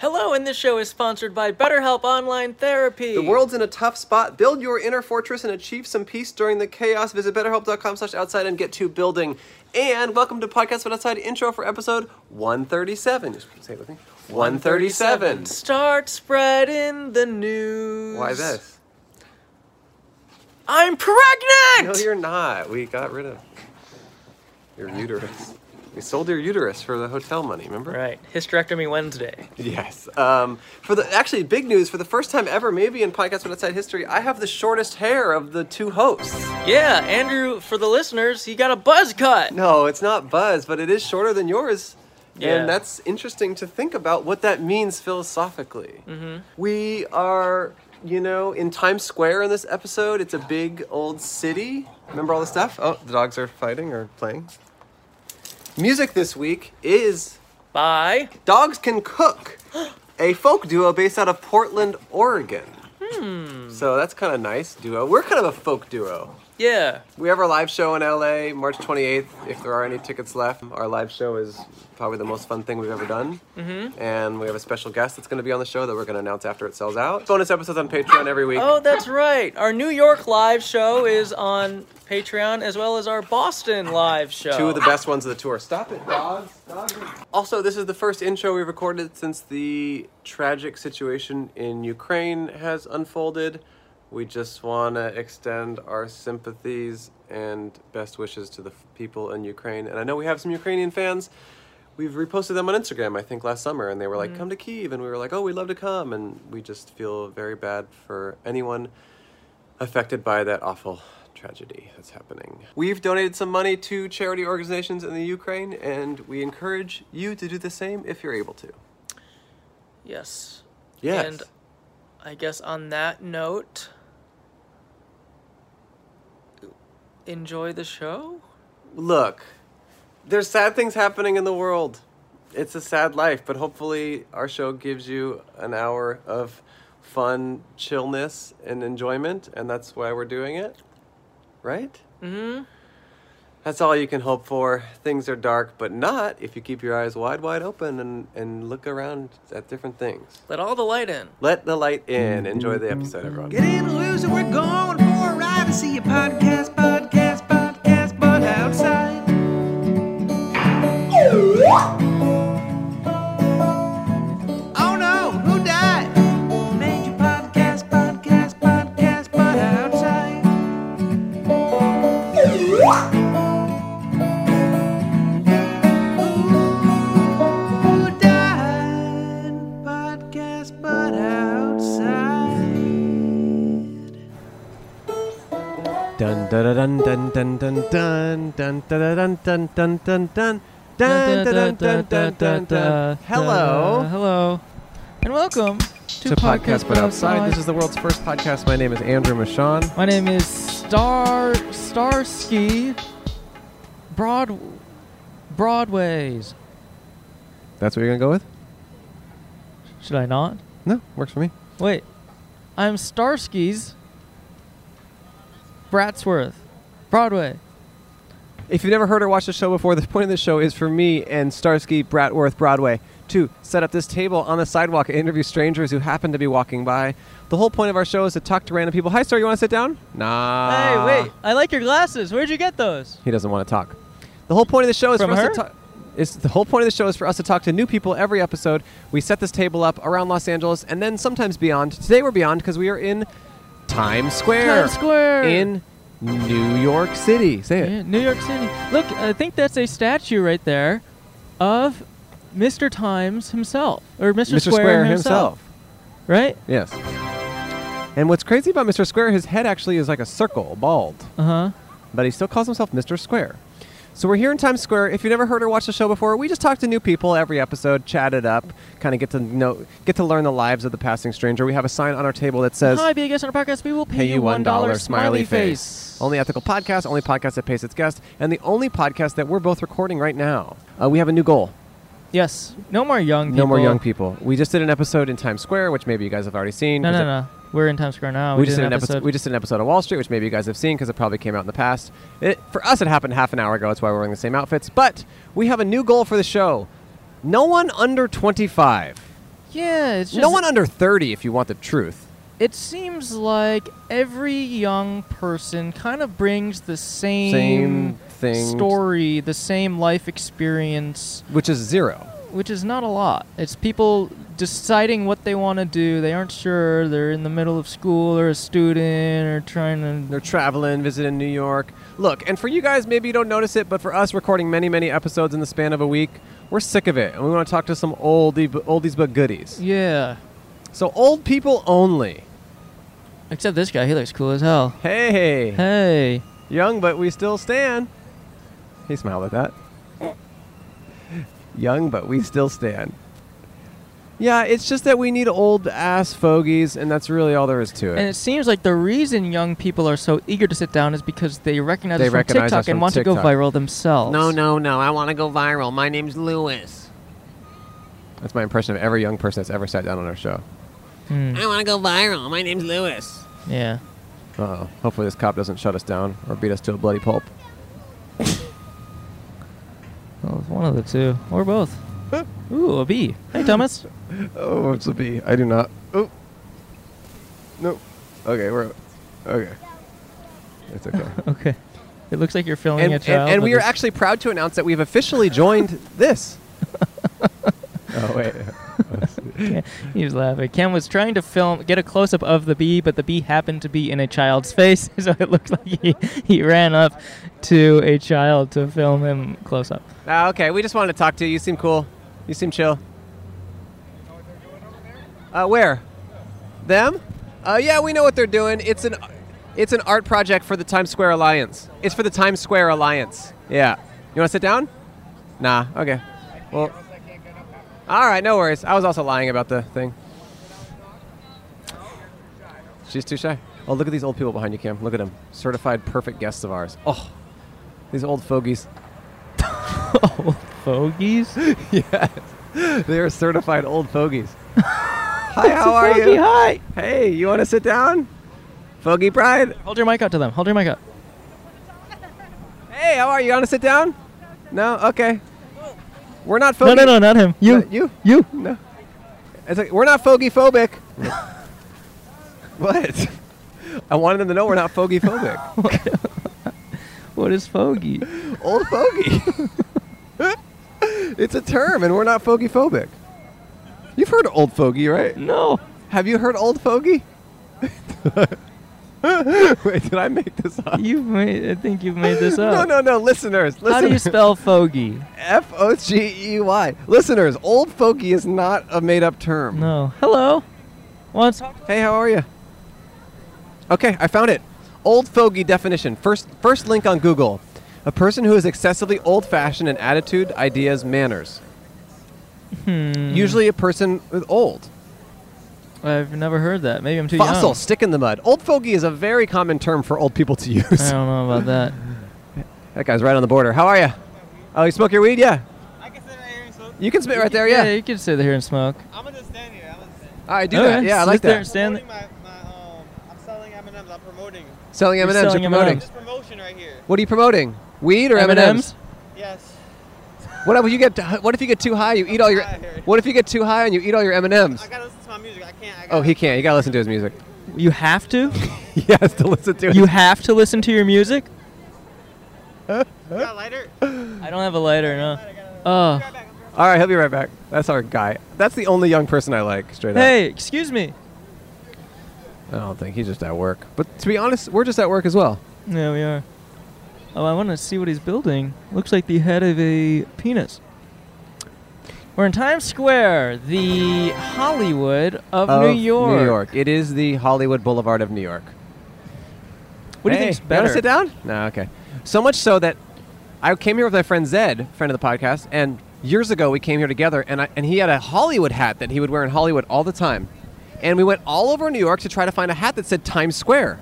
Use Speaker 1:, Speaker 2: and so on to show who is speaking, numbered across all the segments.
Speaker 1: and this show is sponsored by BetterHelp Online Therapy.
Speaker 2: The world's in a tough spot. Build your inner fortress and achieve some peace during the chaos. Visit betterhelp.com slash outside and get to building. And welcome to Podcast But Outside intro for episode 137. Just say it with me. 137.
Speaker 1: Start spreading the news.
Speaker 2: Why this?
Speaker 1: I'm
Speaker 2: No,
Speaker 1: pregnant!
Speaker 2: you're not. We got rid of your uterus. We sold your uterus for the hotel money, remember?
Speaker 1: right. Hysterectomy Wednesday.
Speaker 2: Yes. Um, for the actually big news for the first time ever, maybe in podcast but outside history, I have the shortest hair of the two hosts.
Speaker 1: Yeah, Andrew, for the listeners, he got a buzz cut.
Speaker 2: No, it's not Buzz, but it is shorter than yours.
Speaker 1: Yeah.
Speaker 2: And that's interesting to think about what that means philosophically. We are, you know, in Times Square in this episode. It's a big old city. Remember all the stuff? Oh, the dogs are fighting or playing. Music this week is
Speaker 1: Bye.
Speaker 2: Dogs Can Cook, a folk duo based out of Portland, Oregon. Hmm. So that's kind of nice duo. We're kind of a folk duo.
Speaker 1: Yeah.
Speaker 2: We have our live show in LA March 28th. If there are any tickets left, our live show is probably the most fun thing we've ever done. Mm-hmm. And we have a special guest that's going to be on the show that we're going to announce after it sells out. Bonus episodes on Patreon every week.
Speaker 1: Oh, that's right. Our New York live show is on Patreon as well as our Boston live show.
Speaker 2: Two of the best ones of the tour. Stop it, dogs. Dogs. Also, this is the first intro we recorded since the tragic situation in Ukraine has unfolded. We just want to extend our sympathies and best wishes to the f- people in Ukraine. And I know we have some Ukrainian fans. We've reposted them on Instagram, I think, last summer, and they were like, come to Kiev. And we were like, oh, we'd love to come. And we just feel very bad for anyone affected by that awful tragedy that's happening. We've donated some money to charity organizations in the Ukraine, and we encourage you to do the same if you're able to.
Speaker 1: Yes.
Speaker 2: Yes.
Speaker 1: And I guess on that note, enjoy the show.
Speaker 2: Look, there's sad things happening in the world. It's a sad life, but hopefully our show gives you an hour of fun, chillness, and enjoyment, and that's why we're doing it. Right? Mm-hmm. That's all you can hope for. Things are dark, but not if you keep your eyes wide, wide open and, and look around at different things.
Speaker 1: Let all the light in.
Speaker 2: Let the light in. Enjoy the episode, everyone.
Speaker 3: Get in, lose, and we're going for a ride to see a podcast, podcast, podcast, but outside. Oh no, who died? Major podcast, podcast, podcast, but outside. Who died? Podcast, but outside.
Speaker 2: Dun dun dun dun dun dun dun dun dun dun dun dun dun
Speaker 1: Dun, dun, dun, dun, dun, dun.
Speaker 2: Hello.
Speaker 1: Hello. And welcome to,
Speaker 2: to podcast but outside. This is the world's first podcast. My name is Andrew Michon.
Speaker 1: My name is Star Starsky Broad Broadways.
Speaker 2: That's what you're gonna go with?
Speaker 1: Should I not?
Speaker 2: No, works for me.
Speaker 1: Wait. I'm Starsky's Bratsworth. Broadway.
Speaker 2: If you've never heard or watched the show before, the point of the show is for me and Starsky Bratworth Broadway to set up this table on the sidewalk and interview strangers who happen to be walking by. The whole point of our show is to talk to random people. Hi, sir, you want to sit down? Nah.
Speaker 1: hey, wait. I like your glasses. Where'd you get those?
Speaker 2: He doesn't want to talk. The whole point of the show is
Speaker 1: From
Speaker 2: for
Speaker 1: her?
Speaker 2: us to talk. Is the whole point of the show is for us to talk to new people every episode. We set this table up around Los Angeles and then sometimes beyond. Today we're beyond because we are in Times Square.
Speaker 1: Times Square.
Speaker 2: in New York City. Say it.
Speaker 1: Yeah, New York City. Look, I think that's a statue right there of Mr. Times himself. Or Mr.
Speaker 2: Mr.
Speaker 1: Square,
Speaker 2: Square himself.
Speaker 1: himself. Right?
Speaker 2: Yes. And what's crazy about Mr. Square, his head actually is like a circle, bald.
Speaker 1: Uh huh.
Speaker 2: but he still calls himself Mr. Square. So we're here in Times Square. If you've never heard or watched the show before, we just talk to new people every episode, chat it up, kind of get to know, get to learn the lives of the passing stranger. We have a sign on our table that says,
Speaker 1: Hi, be a guest on our podcast. We will pay,
Speaker 2: "Pay you one dollar, smiley
Speaker 1: smiley
Speaker 2: face." Only ethical podcast, only podcast that pays its guest, and the only podcast that we're both recording right now. Uh, we have a new goal.
Speaker 1: Yes. No more young people.
Speaker 2: No more young people. We just did an episode in Times Square, which maybe you guys have already seen.
Speaker 1: No,
Speaker 2: 'cause
Speaker 1: no,
Speaker 2: it-
Speaker 1: no. We're in Times Square now.
Speaker 2: we, just did an episode.
Speaker 1: episode.
Speaker 2: We just did an episode on Wall Street, which maybe you guys have seen because it probably came out in the past. It, for us, it happened half an hour ago. That's why we're wearing the same outfits. But we have a new goal for the show: no one under twenty-five.
Speaker 1: Yeah, it's just
Speaker 2: no one under 30 if you want the truth.
Speaker 1: It seems like every young person kind of brings the same,
Speaker 2: Same thing.
Speaker 1: story, the same life experience,
Speaker 2: Which is zero.
Speaker 1: which is not a lot. It's people deciding what they want to do. They aren't sure. They're in the middle of school or a student or trying to
Speaker 2: They're traveling, visiting New York. Look, and for you guys, maybe you don't notice it, but for us, recording many, many episodes in the span of a week, we're sick of it, and we want to talk to some oldie, oldies but goodies.
Speaker 1: Yeah.
Speaker 2: So old people only.
Speaker 1: Except this guy, he looks cool as hell.
Speaker 2: Hey,
Speaker 1: Hey.
Speaker 2: young but we still stand. He smiled at that. young but we still stand. Yeah, it's just that we need old ass fogies, and that's really all there is to it.
Speaker 1: And it seems like the reason young people are so eager to sit down is because they recognize
Speaker 2: They
Speaker 1: us from
Speaker 2: recognize
Speaker 1: TikTok
Speaker 2: us
Speaker 1: and
Speaker 2: from
Speaker 1: want to go
Speaker 2: TikTok.
Speaker 1: viral themselves.
Speaker 4: No, no, no. I want to go viral. My name's Lewis.
Speaker 2: that's my impression of every young person that's ever sat down on our show.
Speaker 1: Hmm,
Speaker 4: I want to go viral. My name's Lewis.
Speaker 1: yeah.
Speaker 2: Uh oh. Hopefully, this cop doesn't shut us down or beat us to a bloody pulp.
Speaker 1: Well, it's one of the two. Or both. Ooh, a bee. Hey, Thomas.
Speaker 2: Oh, it's a bee. I do not. Oh. No. Okay, we're. Okay. It's okay.
Speaker 1: okay. It looks like you're filming
Speaker 2: and,
Speaker 1: a
Speaker 2: and,
Speaker 1: child.
Speaker 2: and we
Speaker 1: with
Speaker 2: are
Speaker 1: this-
Speaker 2: actually proud to announce that we've officially joined this. oh, wait.
Speaker 1: He's laughing. Ken was trying to film, get a close up of the bee, but the bee happened to be in a child's face, so it looked like he, he ran up to a child to film him close up.
Speaker 2: Ah, okay, we just wanted to talk to you. You seem cool. You seem chill. Uh, where? Them? Uh, yeah, we know what they're doing. It's an, it's an art project for the Times Square Alliance. It's for the Times Square Alliance. Yeah. You want to sit down? Nah. Okay. Well. All right. No worries. I was also lying about the thing. She's too shy. Oh, look at these old people behind you, Cam. Look at them. Certified perfect guests of ours. Oh, these old fogies.
Speaker 1: Fogies?
Speaker 2: They are certified old fogies. Hi, how are
Speaker 1: Fogey,
Speaker 2: you?
Speaker 1: hi!
Speaker 2: Hey, you want to sit down? Fogey Pride.
Speaker 1: Hold your mic out to them. Hold your mic out.
Speaker 2: Hey, how are you? You want to sit down? No. Okay. We're not
Speaker 1: No,
Speaker 2: fogey.
Speaker 1: no, no, not him. You.
Speaker 2: No, you. You. No. It's like, we're not fogey phobic. what? I wanted them to know we're not fogey phobic.
Speaker 1: What is fogey?
Speaker 2: old fogey. it's a term, and we're not fogey phobic. You've heard of old fogey, right?
Speaker 1: No.
Speaker 2: Have you heard old fogey? Wait, did I make this up?
Speaker 1: You've made, I think you've made this
Speaker 2: No,
Speaker 1: up.
Speaker 2: no, no, listeners,
Speaker 1: How do you
Speaker 2: listeners.
Speaker 1: spell fogey?
Speaker 2: F O G E Y. Listeners, old fogey is not a made-up term.
Speaker 1: No. Hello. Want to talk to
Speaker 2: Hey, how are you? Okay, I found it. Old fogey definition. First, first link on Google. A person who is excessively old-fashioned in attitude, ideas, manners.
Speaker 1: Hmm.
Speaker 2: Usually, a person with old.
Speaker 1: I've never heard that. Maybe I'm too
Speaker 2: Fossil, stick in the mud. Old fogey is a very common term for old people to use.
Speaker 1: young. I don't know about that.
Speaker 2: That guy's right on the border. How are you? Oh, you smoke your weed? Yeah. I can sit right here and smoke. You can spit right there, yeah.
Speaker 1: you can sit here and smoke.
Speaker 3: I'm gonna stand here. I'm gonna stand.
Speaker 2: All right, do
Speaker 1: Okay,
Speaker 2: that. Yeah, I
Speaker 1: Oh, sit
Speaker 2: like
Speaker 1: there
Speaker 2: that.
Speaker 1: and stand.
Speaker 3: Promoting my, my, um, I'm selling M&Ms. I'm promoting.
Speaker 2: Selling
Speaker 1: You're
Speaker 2: M&Ms,
Speaker 1: selling
Speaker 2: you're promoting.
Speaker 1: M&Ms.
Speaker 3: This promotion right here.
Speaker 2: What are you promoting? Weed or M&Ms?
Speaker 1: M&Ms?
Speaker 3: Yes.
Speaker 2: What if you get what if you get too high, you eat all your
Speaker 3: Tired.
Speaker 2: What if you get too high and you eat all your M&Ms?
Speaker 3: I gotta listen to my music. I can't. I gotta,
Speaker 2: Oh, he can't. You got to listen to his music.
Speaker 1: You have to.
Speaker 2: he has to listen to it.
Speaker 1: you have to listen to your music.
Speaker 3: You got a lighter?
Speaker 1: I don't have a lighter. No.
Speaker 2: Uh.
Speaker 1: Oh.
Speaker 3: Right back.
Speaker 2: all right, he'll be right back. That's our guy. That's the only young person I like, straight up.
Speaker 1: Hey, excuse me.
Speaker 2: I don't think he's just at work. But to be honest, we're just at work as well.
Speaker 1: Yeah, we are. Oh, I want to see what he's building. Looks like the head of a penis. We're in Times Square, the Hollywood of, New York.
Speaker 2: New York. It is the Hollywood Boulevard of New York.
Speaker 1: What do
Speaker 2: Hey,
Speaker 1: you think's
Speaker 2: wanna
Speaker 1: better?
Speaker 2: sit down? No, okay. So much so that I came here with my friend Zed, friend of the podcast, and years ago we came here together, and I, and he had a Hollywood hat that he would wear in Hollywood all the time, and we went all over New York to try to find a hat that said Times Square.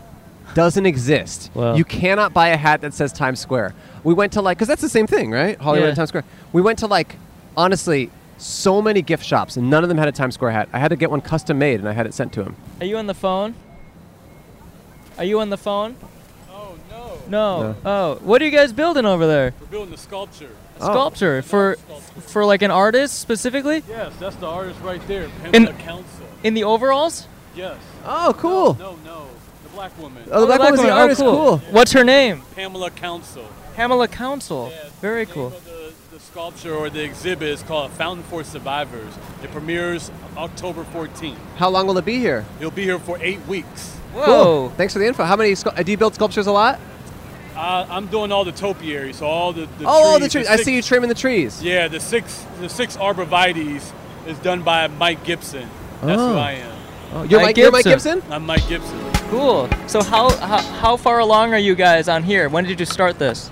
Speaker 2: Doesn't exist.
Speaker 1: Wow.
Speaker 2: You cannot buy a hat that says Times Square. We went to like, because that's the same thing, right? Hollywood
Speaker 1: Yeah.
Speaker 2: and Times Square. We went to like, honestly, so many gift shops, and none of them had a Times Square hat. I had to get one custom made, and I had it sent to him.
Speaker 1: Are you on the phone? Are you on the phone?
Speaker 5: Oh no!
Speaker 1: No.
Speaker 2: No.
Speaker 1: Oh, what are you guys building over there?
Speaker 5: We're building a sculpture.
Speaker 2: Oh.
Speaker 1: sculpture for for like an artist specifically
Speaker 5: Yes, that's the artist right there,
Speaker 1: In-
Speaker 5: Pamela Council.
Speaker 1: in the overalls.
Speaker 5: Yes.
Speaker 2: Oh, cool.
Speaker 5: No, no, the black woman.
Speaker 2: Oh, the black woman's the
Speaker 1: woman. Oh,
Speaker 2: artist. Cool.
Speaker 1: What's her name?
Speaker 5: Pamela Council.
Speaker 1: Pamela Council.
Speaker 5: Yeah,
Speaker 1: Very
Speaker 5: the name
Speaker 1: cool.
Speaker 5: of The, the sculpture or the exhibit is called Fountain for Survivors. It premieres October 14th.
Speaker 2: How long will it be here?
Speaker 5: You'll be here for eight weeks.
Speaker 1: Whoa.
Speaker 2: Thanks for the info. How many? Scu- uh, do you build sculptures a lot?
Speaker 5: Uh, I'm doing all the topiary, so all the, the
Speaker 2: oh, all the
Speaker 5: trees,
Speaker 2: trees. I
Speaker 5: six-
Speaker 2: see you trimming the trees.
Speaker 5: Yeah, the six the six arborvitaes is done by Mike Gibson. That's
Speaker 2: Oh.
Speaker 5: who I am.
Speaker 2: Oh, you're,
Speaker 1: Mike
Speaker 2: Mike, you're Mike
Speaker 1: Gibson.
Speaker 2: Gibson.
Speaker 5: I'm Mike Gibson.
Speaker 1: Cool. So how, how how far along are you guys on here? When did you start this?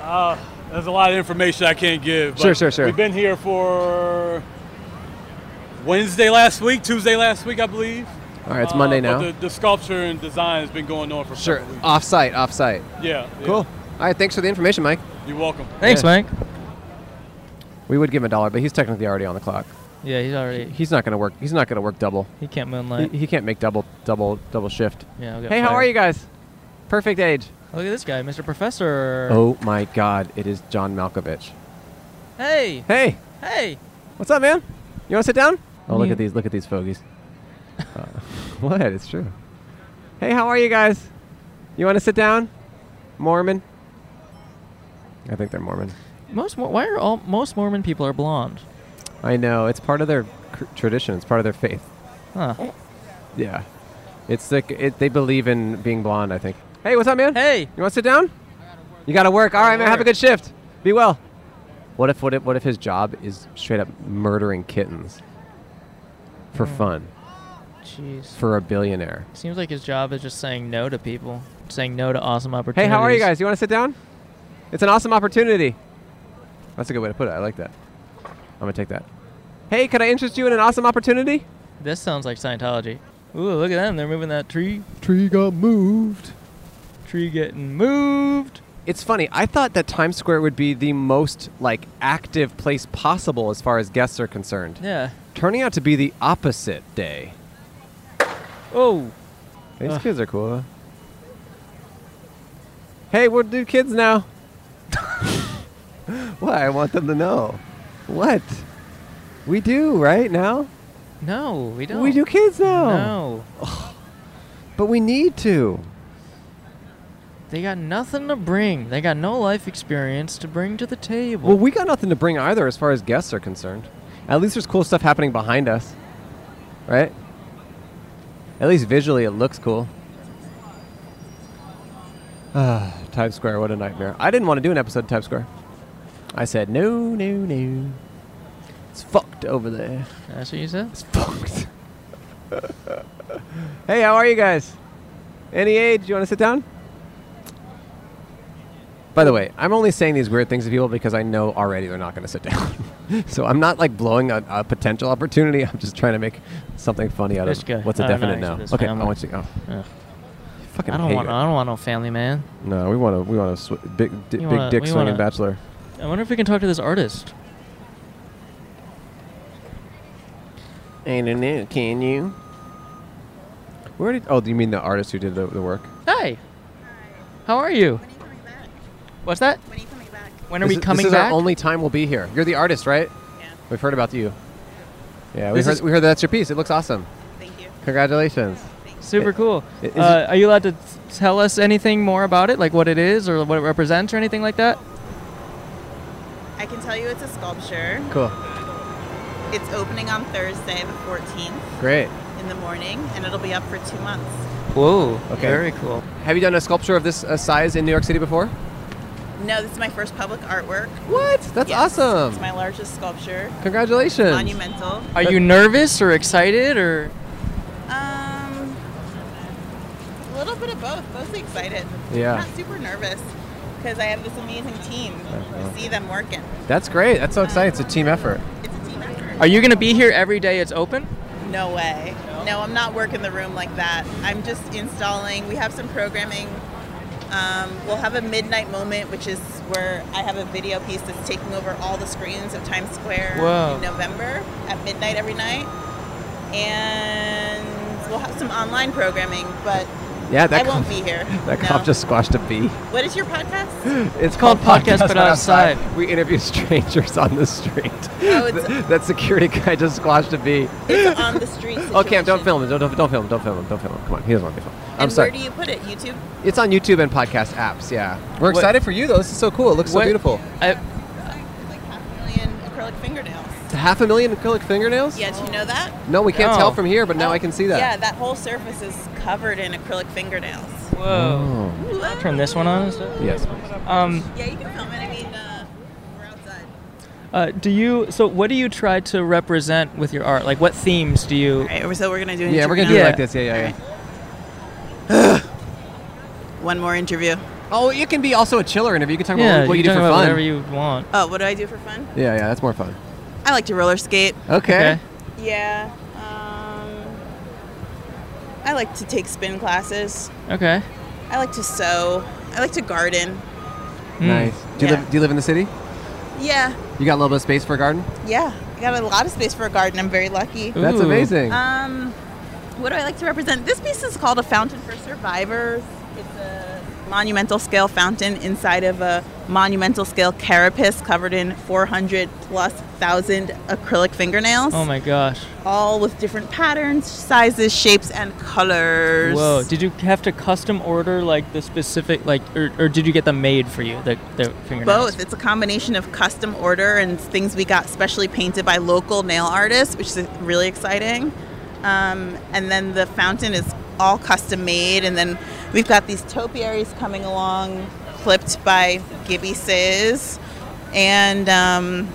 Speaker 5: Uh, there's a lot of information I can't give. but
Speaker 2: Sure, sure, sure.
Speaker 5: We've been here for Wednesday last week, Tuesday last week, I believe.
Speaker 2: All right, it's
Speaker 5: Uh,
Speaker 2: Monday
Speaker 5: but
Speaker 2: now.
Speaker 5: The, the sculpture and design has been going on for
Speaker 2: sure.
Speaker 5: several weeks.
Speaker 2: Off site. Off site.
Speaker 5: yeah, yeah.
Speaker 2: Cool. All right. Thanks for the information, Mike.
Speaker 5: You're welcome.
Speaker 1: Thanks,
Speaker 2: Yeah.
Speaker 1: Mike.
Speaker 2: We would give him a dollar, but he's technically already on the clock.
Speaker 1: Yeah, he's already
Speaker 2: He's not gonna work. He's not gonna work double.
Speaker 1: he can't
Speaker 2: He,
Speaker 1: moonlight.
Speaker 2: he can't make double, double, double shift.
Speaker 1: Yeah. I'll get
Speaker 2: Hey, how
Speaker 1: fired.
Speaker 2: are you guys? Perfect age.
Speaker 1: Look at this guy, Mr. Professor.
Speaker 2: Oh my God! It is John Malkovich.
Speaker 1: Hey,
Speaker 2: Hey,
Speaker 1: hey.
Speaker 2: what's up, man? You want to sit down? Oh, look
Speaker 1: Yeah.
Speaker 2: at these! Look at these fogies. Uh, what? It's true. Hey, how are you guys? You want to sit down? Mormon. I think they're Mormon.
Speaker 1: Most Mor- why are all most Mormon people are blonde?
Speaker 2: I know. It's part of their cr- tradition. It's part of their faith.
Speaker 1: Huh.
Speaker 2: Yeah. It's like it, they believe in being blonde. I think. Hey, what's up, man?
Speaker 1: Hey.
Speaker 2: You want to sit down? You gotta work. All right, man. Have a
Speaker 1: work.
Speaker 2: good shift. Be well. What if what if what if his job is straight up murdering kittens for fun
Speaker 1: Jeez.
Speaker 2: for a billionaire?
Speaker 1: Seems like his job is just saying no to people, saying no to awesome
Speaker 2: Hey,
Speaker 1: opportunities.
Speaker 2: how are you guys? You want to sit down? It's an awesome opportunity. That's a good way to put it. I like that. I'm gonna take that. Hey, could I interest you in an awesome opportunity?
Speaker 1: This sounds like Scientology. Ooh, look at them. They're moving that tree.
Speaker 2: Tree got moved.
Speaker 1: Tree getting moved.
Speaker 2: It's funny. I thought that Times Square would be the most like active place possible as far as guests are concerned.
Speaker 1: Yeah.
Speaker 2: Turning out to be the opposite day.
Speaker 1: Oh.
Speaker 2: These kids are cool. Huh? Hey, we'll do kids now. what? I want them to know. What? We do right now.
Speaker 1: No, we don't.
Speaker 2: We do kids now.
Speaker 1: No.
Speaker 2: But we need to.
Speaker 1: They got nothing to bring. They got no life experience to bring to the table.
Speaker 2: Well, we got nothing to bring either, as far as guests are concerned. At least there's cool stuff happening behind us, right? At least visually, it looks cool. Ah, Times Square, what a nightmare! I didn't want to do an episode of Times Square. I said no, no, no. It's fucked over there.
Speaker 1: That's what you said?
Speaker 2: It's fucked. hey, how are you guys? Any age? You want to sit down? By the way, I'm only saying these weird things to people because I know already they're not going to sit down. so I'm not like blowing a, a potential opportunity. I'm just trying to make something funny out
Speaker 1: This
Speaker 2: of
Speaker 1: guy.
Speaker 2: what's a
Speaker 1: I don't
Speaker 2: definite
Speaker 1: know
Speaker 2: no.
Speaker 1: this
Speaker 2: Okay,
Speaker 1: family.
Speaker 2: I want you. Oh,
Speaker 1: Ugh.
Speaker 2: I fucking
Speaker 1: I don't
Speaker 2: hate
Speaker 1: want.
Speaker 2: it.
Speaker 1: I don't want no family man.
Speaker 2: No, we want to. We want to sw- big di-
Speaker 1: You
Speaker 2: big
Speaker 1: wanna-
Speaker 2: dick
Speaker 1: we
Speaker 2: swinging
Speaker 1: wanna-
Speaker 2: bachelor.
Speaker 1: I wonder if we can talk to this artist.
Speaker 4: I don't know, can you?
Speaker 2: Where did? Oh, do you mean the artist who did the, the work?
Speaker 1: Hey. How are you?
Speaker 6: When are you coming back?
Speaker 1: What's that?
Speaker 6: When are you coming back?
Speaker 1: When are
Speaker 2: This
Speaker 1: we
Speaker 2: is-
Speaker 1: coming
Speaker 2: This is
Speaker 1: back?
Speaker 2: our only time we'll be here. You're the artist, right?
Speaker 6: Yeah,
Speaker 2: We've heard about you. Yeah, we
Speaker 1: This
Speaker 2: heard,
Speaker 1: is-
Speaker 2: we heard that's your piece. It looks awesome.
Speaker 6: thank you.
Speaker 2: Congratulations.
Speaker 1: Super cool.
Speaker 2: i- is
Speaker 1: Uh, are you allowed to t- tell us anything more about it, like what it is or what it represents or anything like that?
Speaker 6: I can tell you it's a sculpture.
Speaker 2: Cool.
Speaker 6: It's opening on Thursday, the 14th
Speaker 2: Great.
Speaker 6: in the morning, and it'll be up for two months.
Speaker 1: Whoa.
Speaker 2: Okay.
Speaker 1: Very cool.
Speaker 2: Have you done a sculpture of this uh, size in New York City before?
Speaker 6: No, this is my first public artwork.
Speaker 2: What? That's
Speaker 6: Yes,
Speaker 2: awesome.
Speaker 6: It's my largest sculpture.
Speaker 2: Congratulations.
Speaker 6: Monumental.
Speaker 1: Are you nervous or excited or?
Speaker 6: Um, a little bit of both. Mostly excited.
Speaker 2: Yeah.
Speaker 6: Not super nervous because I have this amazing team. You see them working.
Speaker 2: That's great. That's so exciting. It's a team effort.
Speaker 6: It's a team effort.
Speaker 1: Are you gonna be here every day? It's open.
Speaker 6: No way. No, I'm not working the room like that. I'm just installing. We have some programming. Um, we'll have a midnight moment, which is where I have a video piece that's taking over all the screens of Times Square
Speaker 1: Whoa.
Speaker 6: in November at midnight every night. And we'll have some online programming, but
Speaker 2: Yeah, Ah, that
Speaker 6: I won't
Speaker 2: cop-
Speaker 6: be here.
Speaker 2: That
Speaker 6: no.
Speaker 2: cop just squashed a bee.
Speaker 6: What is your podcast?
Speaker 2: It's
Speaker 1: called Podcast But Outside.
Speaker 2: We interview strangers on the street.
Speaker 6: Oh, it's-
Speaker 2: Th- that security guy just squashed a bee.
Speaker 6: It's on the street.
Speaker 2: Oh, Cam, don't
Speaker 6: situation.
Speaker 2: film him. Don't, don't, don't film him. Don't film him. Don't film him. Come on. He doesn't want to be filmed. I'm
Speaker 6: and
Speaker 2: sorry.
Speaker 6: Where do you put it? YouTube.
Speaker 2: it's on YouTube and podcast apps, yeah. We're
Speaker 1: What-
Speaker 2: excited for you, though. This is so cool. It looks so
Speaker 1: What-
Speaker 2: beautiful.
Speaker 1: I,
Speaker 6: Like half a million acrylic fingernails.
Speaker 2: Half a million acrylic fingernails?
Speaker 6: Yeah, do you know that?
Speaker 2: No, we can't
Speaker 1: No.
Speaker 2: tell from here, but now I can see that.
Speaker 6: Yeah, that whole surface is covered in acrylic fingernails.
Speaker 1: whoa.
Speaker 2: Oh.
Speaker 1: I'll turn this one on instead.
Speaker 2: Yes.
Speaker 1: Um,
Speaker 6: Yeah, you can film it. I mean, uh, we're outside.
Speaker 1: uh, do you? So, what do you try to represent with your art? Like, what themes do you?
Speaker 6: All right, so we're gonna do. An
Speaker 2: Yeah, we're going to do
Speaker 6: interview
Speaker 2: it
Speaker 1: Yeah.
Speaker 2: like this. Yeah, yeah, yeah.
Speaker 6: now? One more interview.
Speaker 2: Oh, it can be also a chiller interview. You can talk about
Speaker 1: yeah,
Speaker 2: what you do
Speaker 1: can
Speaker 2: for
Speaker 1: talk about
Speaker 2: fun.
Speaker 1: whatever you want.
Speaker 6: Oh, what do I do for fun?
Speaker 2: yeah, yeah, that's more fun.
Speaker 6: I like to roller skate.
Speaker 2: Okay.
Speaker 6: Yeah. Um, I like to take spin classes.
Speaker 1: Okay.
Speaker 6: I like to sew. I like to garden.
Speaker 1: Mm.
Speaker 2: Nice. Do you
Speaker 6: Yeah.
Speaker 2: live? Do you live in the city?
Speaker 6: Yeah.
Speaker 2: You got a little bit of space for a garden.
Speaker 6: Yeah. I got a lot of space for a garden. I'm very lucky.
Speaker 1: Ooh.
Speaker 2: That's amazing.
Speaker 6: Um, what do I like to represent? This piece is called a fountain for survivors. It's a monumental scale fountain inside of a monumental scale carapace covered in 400 plus thousand acrylic fingernails.
Speaker 1: Oh my gosh.
Speaker 6: all with different patterns, sizes, shapes, and colors.
Speaker 1: Whoa. Did you have to custom order like the specific like, or, or did you get them made for you? The the fingernails.
Speaker 6: both. It's a combination of custom order and things we got specially painted by local nail artists, which is really exciting. Um, and then the fountain is all custom made. And then we've got these topiaries coming along, clipped by Gibby Sizz. And um,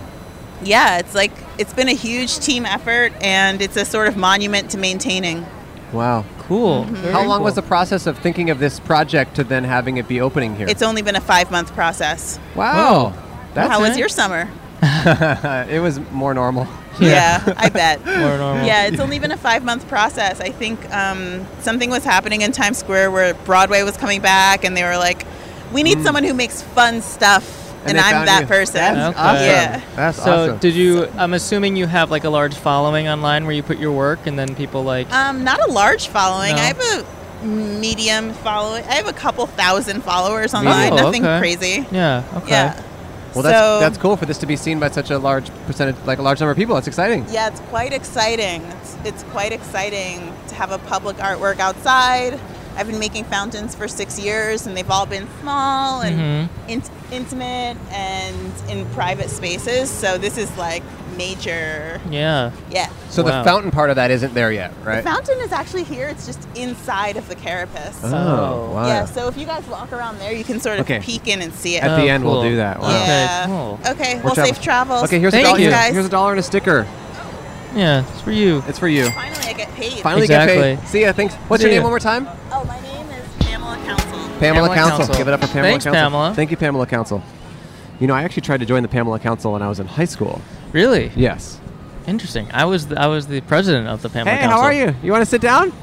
Speaker 6: yeah, it's like it's been a huge team effort, and it's a sort of monument to maintaining.
Speaker 2: wow.
Speaker 1: Cool.
Speaker 6: Mm-hmm.
Speaker 2: How long was the process of thinking of this project to then having it be opening here?
Speaker 6: It's only been a five month process.
Speaker 2: wow.
Speaker 1: Oh.
Speaker 2: That's
Speaker 6: How
Speaker 2: it.
Speaker 6: was your summer?
Speaker 2: it was more normal.
Speaker 1: Yeah.
Speaker 6: Yeah, I bet.
Speaker 1: More
Speaker 2: Oh.
Speaker 1: normal.
Speaker 6: Yeah, it's only been a five month process. I think um, something was happening in Times Square where Broadway was coming back, and they were like, "We need someone who makes fun stuff," and,
Speaker 2: Mm. they
Speaker 6: I'm
Speaker 2: found
Speaker 6: that
Speaker 2: you.
Speaker 6: person.
Speaker 2: That's
Speaker 1: Okay.
Speaker 2: awesome.
Speaker 6: Yeah.
Speaker 2: That's
Speaker 1: So
Speaker 2: awesome.
Speaker 1: did you? I'm assuming you have like a large following online where you put your work, and then people like.
Speaker 6: Um, not a large following.
Speaker 1: No.
Speaker 6: I have a medium following. I have a couple thousand followers online.
Speaker 1: Oh,
Speaker 6: Nothing
Speaker 1: okay.
Speaker 6: crazy.
Speaker 1: yeah. Okay.
Speaker 6: Yeah.
Speaker 2: well, that's
Speaker 6: so-
Speaker 2: that's cool for this to be seen by such a large percentage, like a large number of people. That's exciting.
Speaker 6: Yeah, it's quite exciting. It's, it's quite exciting to have a public artwork outside. I've been making fountains for six years, and they've all been small and
Speaker 1: Mm-hmm.
Speaker 6: int- intimate and in private spaces. So this is like nature.
Speaker 1: Yeah.
Speaker 6: Yeah.
Speaker 2: So
Speaker 1: Wow.
Speaker 2: the fountain part of that isn't there yet, right?
Speaker 6: Fountain is actually here. It's just inside of the carapace.
Speaker 1: Oh.
Speaker 2: oh, wow.
Speaker 6: Yeah. So if you guys walk around there, you can sort of
Speaker 2: Okay.
Speaker 6: peek in and see it.
Speaker 2: At the
Speaker 1: Oh,
Speaker 2: end, we'll
Speaker 1: cool.
Speaker 2: do that. Wow.
Speaker 1: Okay,
Speaker 6: yeah.
Speaker 1: cool.
Speaker 6: Okay.
Speaker 2: We're
Speaker 6: Well,
Speaker 2: travel-
Speaker 6: safe travels.
Speaker 2: Okay, here's
Speaker 1: Thank
Speaker 2: a dollar.
Speaker 1: you.
Speaker 2: Here's a dollar and a sticker.
Speaker 1: Yeah. It's for you.
Speaker 2: It's for you.
Speaker 6: Finally, I get paid.
Speaker 2: Finally get paid.
Speaker 1: Exactly.
Speaker 2: See ya. Thanks. What's
Speaker 1: See
Speaker 2: your name
Speaker 1: ya.
Speaker 2: one more time?
Speaker 6: Oh, my name is Pamela Council.
Speaker 2: Pamela,
Speaker 1: Pamela
Speaker 2: Council.
Speaker 1: Council.
Speaker 2: Give it up for Pamela
Speaker 1: Thanks,
Speaker 2: Council.
Speaker 1: Pamela.
Speaker 2: Thank you, Pamela Council. You know, I actually tried to join the Pamela Council when I was in high school.
Speaker 1: Really
Speaker 2: Yes.
Speaker 1: interesting. I was the, I was the president of the Pamela
Speaker 2: hey,
Speaker 1: Council.
Speaker 2: how are you? You want to sit down?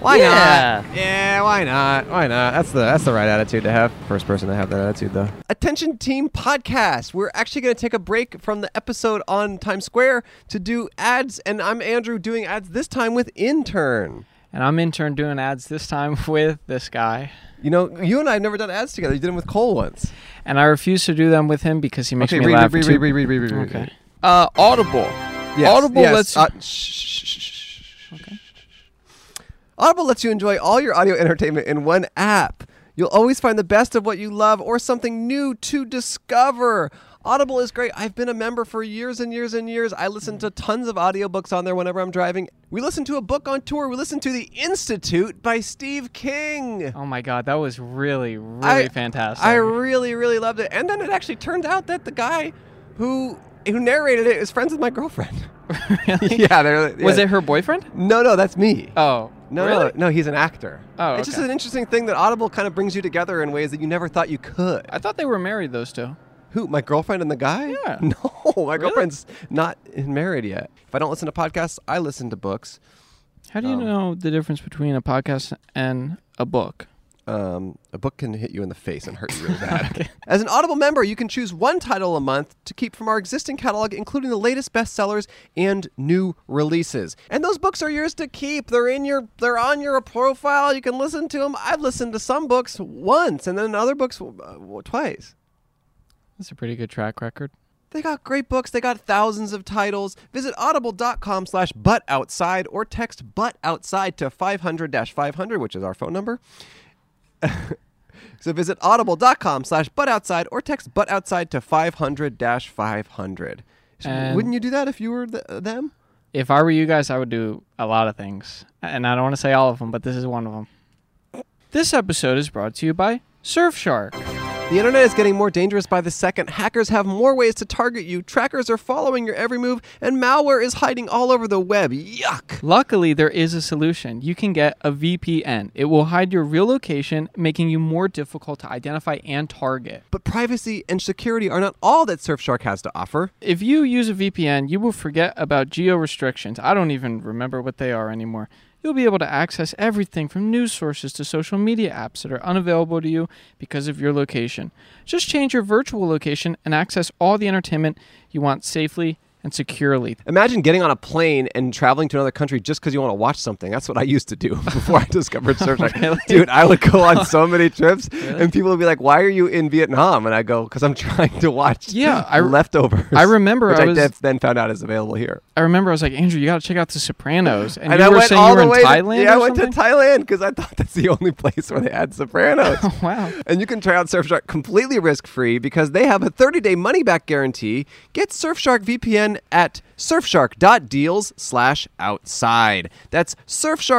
Speaker 2: Why
Speaker 1: Yeah.
Speaker 2: not? Yeah, why not? Why not? That's the that's the right attitude to have. First person to have that attitude though. Attention team podcast. We're actually going to take a break from the episode on Times Square to do ads and I'm Andrew doing ads this time with intern.
Speaker 7: And I'm intern doing ads this time with this guy.
Speaker 2: You know, you and I have never done ads together. You did them with Cole once.
Speaker 7: And I refuse to do them with him because he makes
Speaker 2: Okay,
Speaker 7: me
Speaker 2: read,
Speaker 7: laugh.
Speaker 2: read,
Speaker 7: too-
Speaker 2: read, read, read, read, read, read.
Speaker 7: Okay.
Speaker 4: Uh, Audible.
Speaker 2: Yes,
Speaker 4: Audible
Speaker 2: yes,
Speaker 4: lets
Speaker 2: uh, shh, shh, shh, shh, shh, shh. Audible lets you enjoy all your audio entertainment in one app. You'll always find the best of what you love or something new to discover. Audible is great. I've been a member for years and years and years. I listen to tons of audiobooks on there whenever I'm driving. We listen to a book on tour. We listen to The Institute by Steve King.
Speaker 7: Oh my god, that was really, really
Speaker 2: I-
Speaker 7: fantastic.
Speaker 2: I really, really loved it. And then it actually turned out that the guy who who narrated it is friends with my girlfriend.
Speaker 7: Really?
Speaker 2: yeah, they're, yeah.
Speaker 7: Was it her boyfriend?
Speaker 2: No, no, that's me.
Speaker 7: Oh.
Speaker 2: no,
Speaker 7: really?
Speaker 2: no, no, he's an actor.
Speaker 7: Oh,
Speaker 2: it's just
Speaker 7: okay.
Speaker 2: an interesting thing that Audible kind of brings you together in ways that you never thought you could.
Speaker 7: I thought they were married, those two.
Speaker 2: Who? My girlfriend and the guy?
Speaker 7: Yeah.
Speaker 2: No, my girlfriend's not married yet. If I don't listen to podcasts, I listen to books.
Speaker 7: Oh. How do you know the difference between a podcast and a book?
Speaker 2: Um, a book can hit you in the face and hurt you really bad. As an Audible member, you can choose one title a month to keep from our existing catalog, including the latest bestsellers and new releases. And those books are yours to keep. They're in your, they're on your profile. You can listen to them. I've listened to some books once, and then other books uh, w- twice.
Speaker 7: That's a pretty good track record.
Speaker 2: They got great books. They got thousands of titles. Visit audible.com slash butt outside or text butt outside to 500 500, which is our phone number. so visit audible.com slash butt outside or text butt outside to 500 500.
Speaker 7: And-
Speaker 2: Wouldn't you do that if you were th- them?
Speaker 7: If I were you guys, I would do a lot of things. And I don't want to say all of them, but this is one of them. This episode is brought to you by Surfshark.
Speaker 2: The internet is getting more dangerous by the second. Hackers have more ways to target you, trackers are following your every move, and malware is hiding all over the web. Yuck!
Speaker 7: Luckily, there is a solution. You can get a VPN. It will hide your real location, making you more difficult to identify and target.
Speaker 2: But privacy and security are not all that Surfshark has to offer.
Speaker 7: If you use a VPN, you will forget about geo restrictions. I don't even remember what they are anymore. You'll be able to access everything from news sources to social media apps that are unavailable to you because of your location. Just change your virtual location and access all the entertainment you want safely and securely.
Speaker 2: Imagine getting on a plane and traveling to another country just because you want to watch something. That's what I used to do before I discovered Surfshark.
Speaker 7: Really?
Speaker 2: Dude, I would go on so many trips, and people would be like, "Why are you in Vietnam?" And I go, "Because I'm trying to watch
Speaker 7: Yeah, I-
Speaker 2: leftovers."
Speaker 7: I remember
Speaker 2: which
Speaker 7: I
Speaker 2: I,
Speaker 7: was-
Speaker 2: def- then found out is available here.
Speaker 7: I remember I was like, Andrew, you got to check out The Sopranos. And,
Speaker 2: And
Speaker 7: you
Speaker 2: I
Speaker 7: were
Speaker 2: went
Speaker 7: saying
Speaker 2: all
Speaker 7: you were
Speaker 2: the
Speaker 7: in
Speaker 2: way.
Speaker 7: Thailand?
Speaker 2: to, yeah,
Speaker 7: or
Speaker 2: I went to
Speaker 7: something?
Speaker 2: Thailand because I thought that's the only place where they had Sopranos.
Speaker 7: Wow.
Speaker 2: And you can try out Surfshark completely risk free because they have a 30 day money back guarantee. Get Surfshark VPN at surfshark.deals slash outside. That's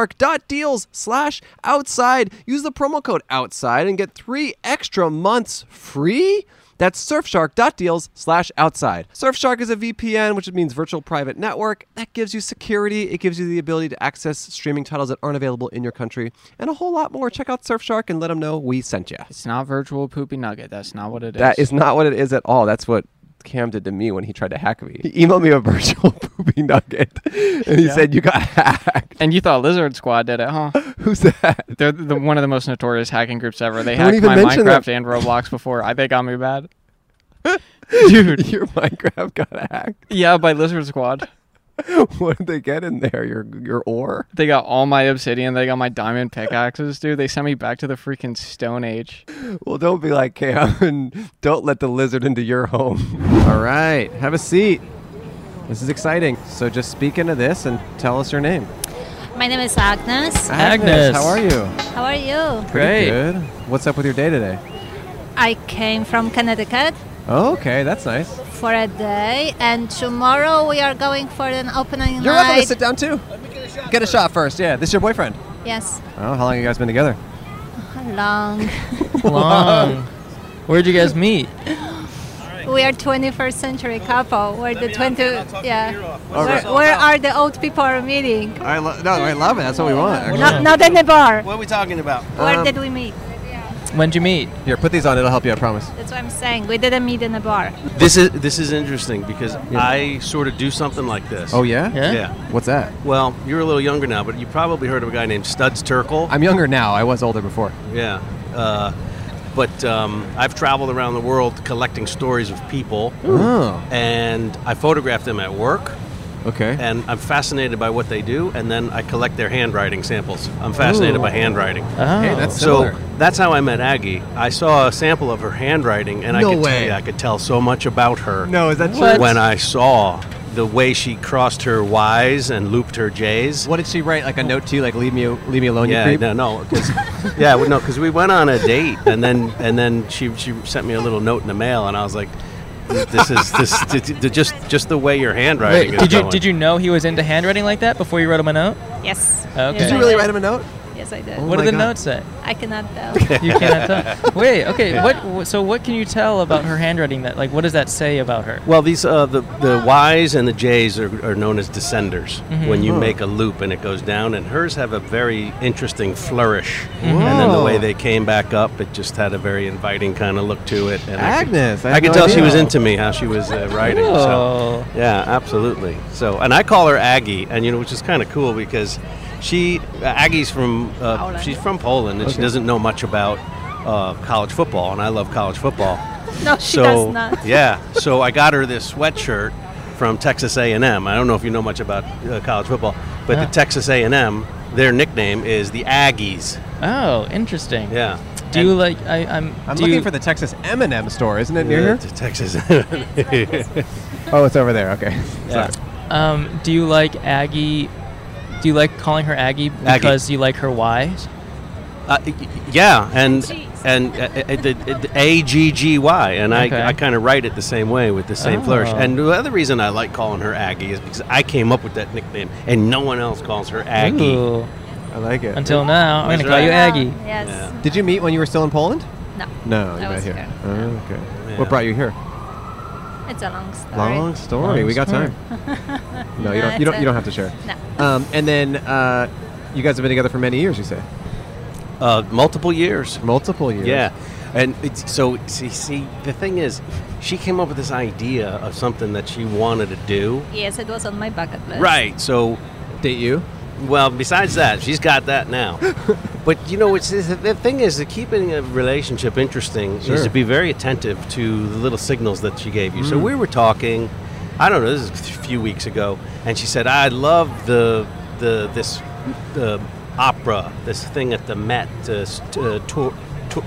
Speaker 2: surfshark.deals slash outside. Use the promo code outside and get three extra months free. That's surfshark.deals slash outside. Surfshark is a VPN, which means virtual private network. That gives you security. It gives you the ability to access streaming titles that aren't available in your country and a whole lot more. Check out Surfshark and let them know we sent you.
Speaker 7: It's not virtual poopy nugget. That's not what it is.
Speaker 2: That is not what it is at all. That's what Cam did to me when he tried to hack me. He emailed me a virtual poopy nugget and he said, You got hacked.
Speaker 7: And you thought Lizard Squad did it, huh?
Speaker 2: Who's that?
Speaker 7: They're the, one of the most notorious hacking groups ever. They
Speaker 2: Don't
Speaker 7: hacked
Speaker 2: even
Speaker 7: my
Speaker 2: mention
Speaker 7: Minecraft
Speaker 2: them.
Speaker 7: and Roblox before. I they got me bad. Dude,
Speaker 2: Your Minecraft got hacked.
Speaker 7: yeah, by Lizard Squad.
Speaker 2: What did they get in there? Your your ore?
Speaker 7: They got all my obsidian. They got my diamond pickaxes, dude. They sent me back to the freaking Stone Age.
Speaker 2: Well, don't be like Cam and don't let the lizard into your home. All right, have a seat. This is exciting. So just speak into this and tell us your name.
Speaker 8: My name is Agnes.
Speaker 1: Agnes.
Speaker 2: how are you?
Speaker 8: How are you?
Speaker 1: Great.
Speaker 2: Good. What's up with your day today?
Speaker 8: I came from Connecticut
Speaker 2: Oh, okay, that's nice.
Speaker 8: for a day, and tomorrow we are going for an opening
Speaker 2: You're welcome to
Speaker 8: night.
Speaker 2: sit down too. Get a shot first. Yeah, this is your boyfriend.
Speaker 8: yes,
Speaker 2: Oh, how long you guys been together?
Speaker 8: long.
Speaker 1: Long. Where'd you guys meet?
Speaker 8: we are 21st century couple. We're the 20. Yeah.
Speaker 2: All
Speaker 8: Where,
Speaker 2: right.
Speaker 8: where are the old people are meeting?
Speaker 2: I lo- no, I love it. That's what we want. Actually.
Speaker 8: Not, not in the bar.
Speaker 4: What are we talking about?
Speaker 8: Where
Speaker 2: Um,
Speaker 8: did we meet?
Speaker 1: When'd you meet?
Speaker 2: Here, put these on. It'll help you. I promise.
Speaker 8: That's what I'm saying. We didn't meet in a bar.
Speaker 4: This is this is interesting because I sort of do something like this.
Speaker 2: Oh yeah?
Speaker 1: Yeah.
Speaker 4: Yeah.
Speaker 2: What's that?
Speaker 4: Well, you're a little younger now, but you probably heard of a guy named Studs Terkel.
Speaker 2: I'm younger now. I was older before.
Speaker 4: Yeah. Uh, but um, I've traveled around the world collecting stories of people,
Speaker 2: Oh.
Speaker 4: and I photograph them at work,
Speaker 2: Okay.
Speaker 4: and I'm fascinated by what they do, and then I collect their handwriting samples. I'm fascinated by handwriting.
Speaker 1: Oh.
Speaker 2: Hey, that's
Speaker 4: So
Speaker 2: Uh-huh. similar.
Speaker 4: that's how I met Aggie. I saw a sample of her handwriting, and
Speaker 2: No
Speaker 4: I could
Speaker 2: way.
Speaker 4: tell you, I could tell so much about her.
Speaker 2: no, is that true?
Speaker 1: What?
Speaker 4: when I saw the way she crossed her Y's and looped her J's.
Speaker 2: What did she write? Like a note to you, like leave me leave me alone,
Speaker 4: Yeah,
Speaker 2: you creep.
Speaker 4: no, no, 'cause- yeah, well, no, because we went on a date, and then and then she she sent me a little note in the mail, and I was like, "This is this, th- th- just just the way your handwriting is
Speaker 1: Did you
Speaker 4: going."
Speaker 1: did you know he was into handwriting like that before you wrote him a note?
Speaker 8: Yes.
Speaker 1: Okay.
Speaker 8: Yes,
Speaker 1: Did you
Speaker 8: I
Speaker 2: really write him a note?
Speaker 8: Yes, I did.
Speaker 2: Oh
Speaker 1: What
Speaker 2: my
Speaker 1: did the
Speaker 2: God.
Speaker 1: notes say?
Speaker 8: I cannot tell.
Speaker 1: You cannot tell. Wait, okay. What? wh- So what can you tell about her handwriting? That like, what does that say about her?
Speaker 4: Well, these uh, the the Y's and the J's are, are known as descenders
Speaker 1: Mm-hmm.
Speaker 4: when you make a loop and it goes down, and hers have a very interesting flourish, and then the way
Speaker 2: Whoa.
Speaker 4: they came back up, it just had a very inviting kind of look to it. And I could-
Speaker 2: Agnes, I
Speaker 4: I,
Speaker 2: had
Speaker 4: could
Speaker 2: no
Speaker 4: tell she
Speaker 2: idea. Oh.
Speaker 4: was into me how she was uh, writing. So
Speaker 1: Whoa.
Speaker 4: yeah, absolutely. So and I call her Aggie, and you know, which is kind of cool because She uh, Aggie's from uh, she's from Poland and she
Speaker 9: Okay.
Speaker 4: doesn't know much about uh, college football, and I love college football.
Speaker 9: No, she
Speaker 4: so,
Speaker 9: does not.
Speaker 4: yeah, so I got her this sweatshirt from Texas A&M. I don't know if you know much about uh, college football, but
Speaker 1: Yeah.
Speaker 4: the Texas A&M, their nickname is the Aggies.
Speaker 1: Oh, interesting.
Speaker 4: Yeah.
Speaker 1: Do you like? I, I'm.
Speaker 2: I'm
Speaker 1: do
Speaker 2: looking
Speaker 1: you-
Speaker 2: for the Texas M&M store, isn't it near
Speaker 4: Yeah,
Speaker 2: here?
Speaker 4: t- Uh, Texas.
Speaker 2: oh, it's over there. Okay. Sorry.
Speaker 1: Um, do you like Aggie? Do you like calling her Aggie
Speaker 4: Aggie.
Speaker 1: because you like her Y's?
Speaker 4: Uh, y- y- yeah, and and uh, A G G Y, and
Speaker 1: Okay.
Speaker 4: I, I kind of write it the same way with the same flourish.
Speaker 1: Oh.
Speaker 4: And the other reason I like calling her Aggie is because I came up with that nickname, and no one else calls her Aggie.
Speaker 1: Ooh.
Speaker 2: I like it.
Speaker 1: Until now, I'm
Speaker 4: That's
Speaker 1: gonna call you
Speaker 4: right.
Speaker 1: Aggie.
Speaker 8: Yes.
Speaker 2: Did you meet when you were still in Poland?
Speaker 8: No.
Speaker 2: No,
Speaker 8: I
Speaker 2: you're not
Speaker 8: was
Speaker 2: here.
Speaker 8: here.
Speaker 2: Oh, okay.
Speaker 4: Yeah.
Speaker 2: What brought you here?
Speaker 8: It's a long story.
Speaker 2: Long story.
Speaker 4: Long
Speaker 2: we got
Speaker 4: story.
Speaker 2: time. no,
Speaker 8: Nah,
Speaker 2: you don't. You
Speaker 8: it's
Speaker 2: don't. You don't
Speaker 8: a-
Speaker 2: have to share.
Speaker 8: No.
Speaker 2: Um, and then uh, you guys have been together for many years. You say
Speaker 4: uh, multiple years.
Speaker 2: Multiple years.
Speaker 4: Yeah, and it's, so see, see, the thing is, she came up with this idea of something that she wanted to do.
Speaker 8: Yes, it was on my bucket list.
Speaker 4: Right. So
Speaker 2: date you?
Speaker 4: Well, besides that, she's got that now. but you know, it's, it's- the thing is that keeping a relationship interesting
Speaker 9: Sure.
Speaker 4: is to be very attentive to the little signals that she gave you. So
Speaker 9: Mm.
Speaker 4: we were talking, I don't know, this is a few weeks ago, and she said, "I love the the this the opera, this thing at the Met, uh, st- uh, tour, tour,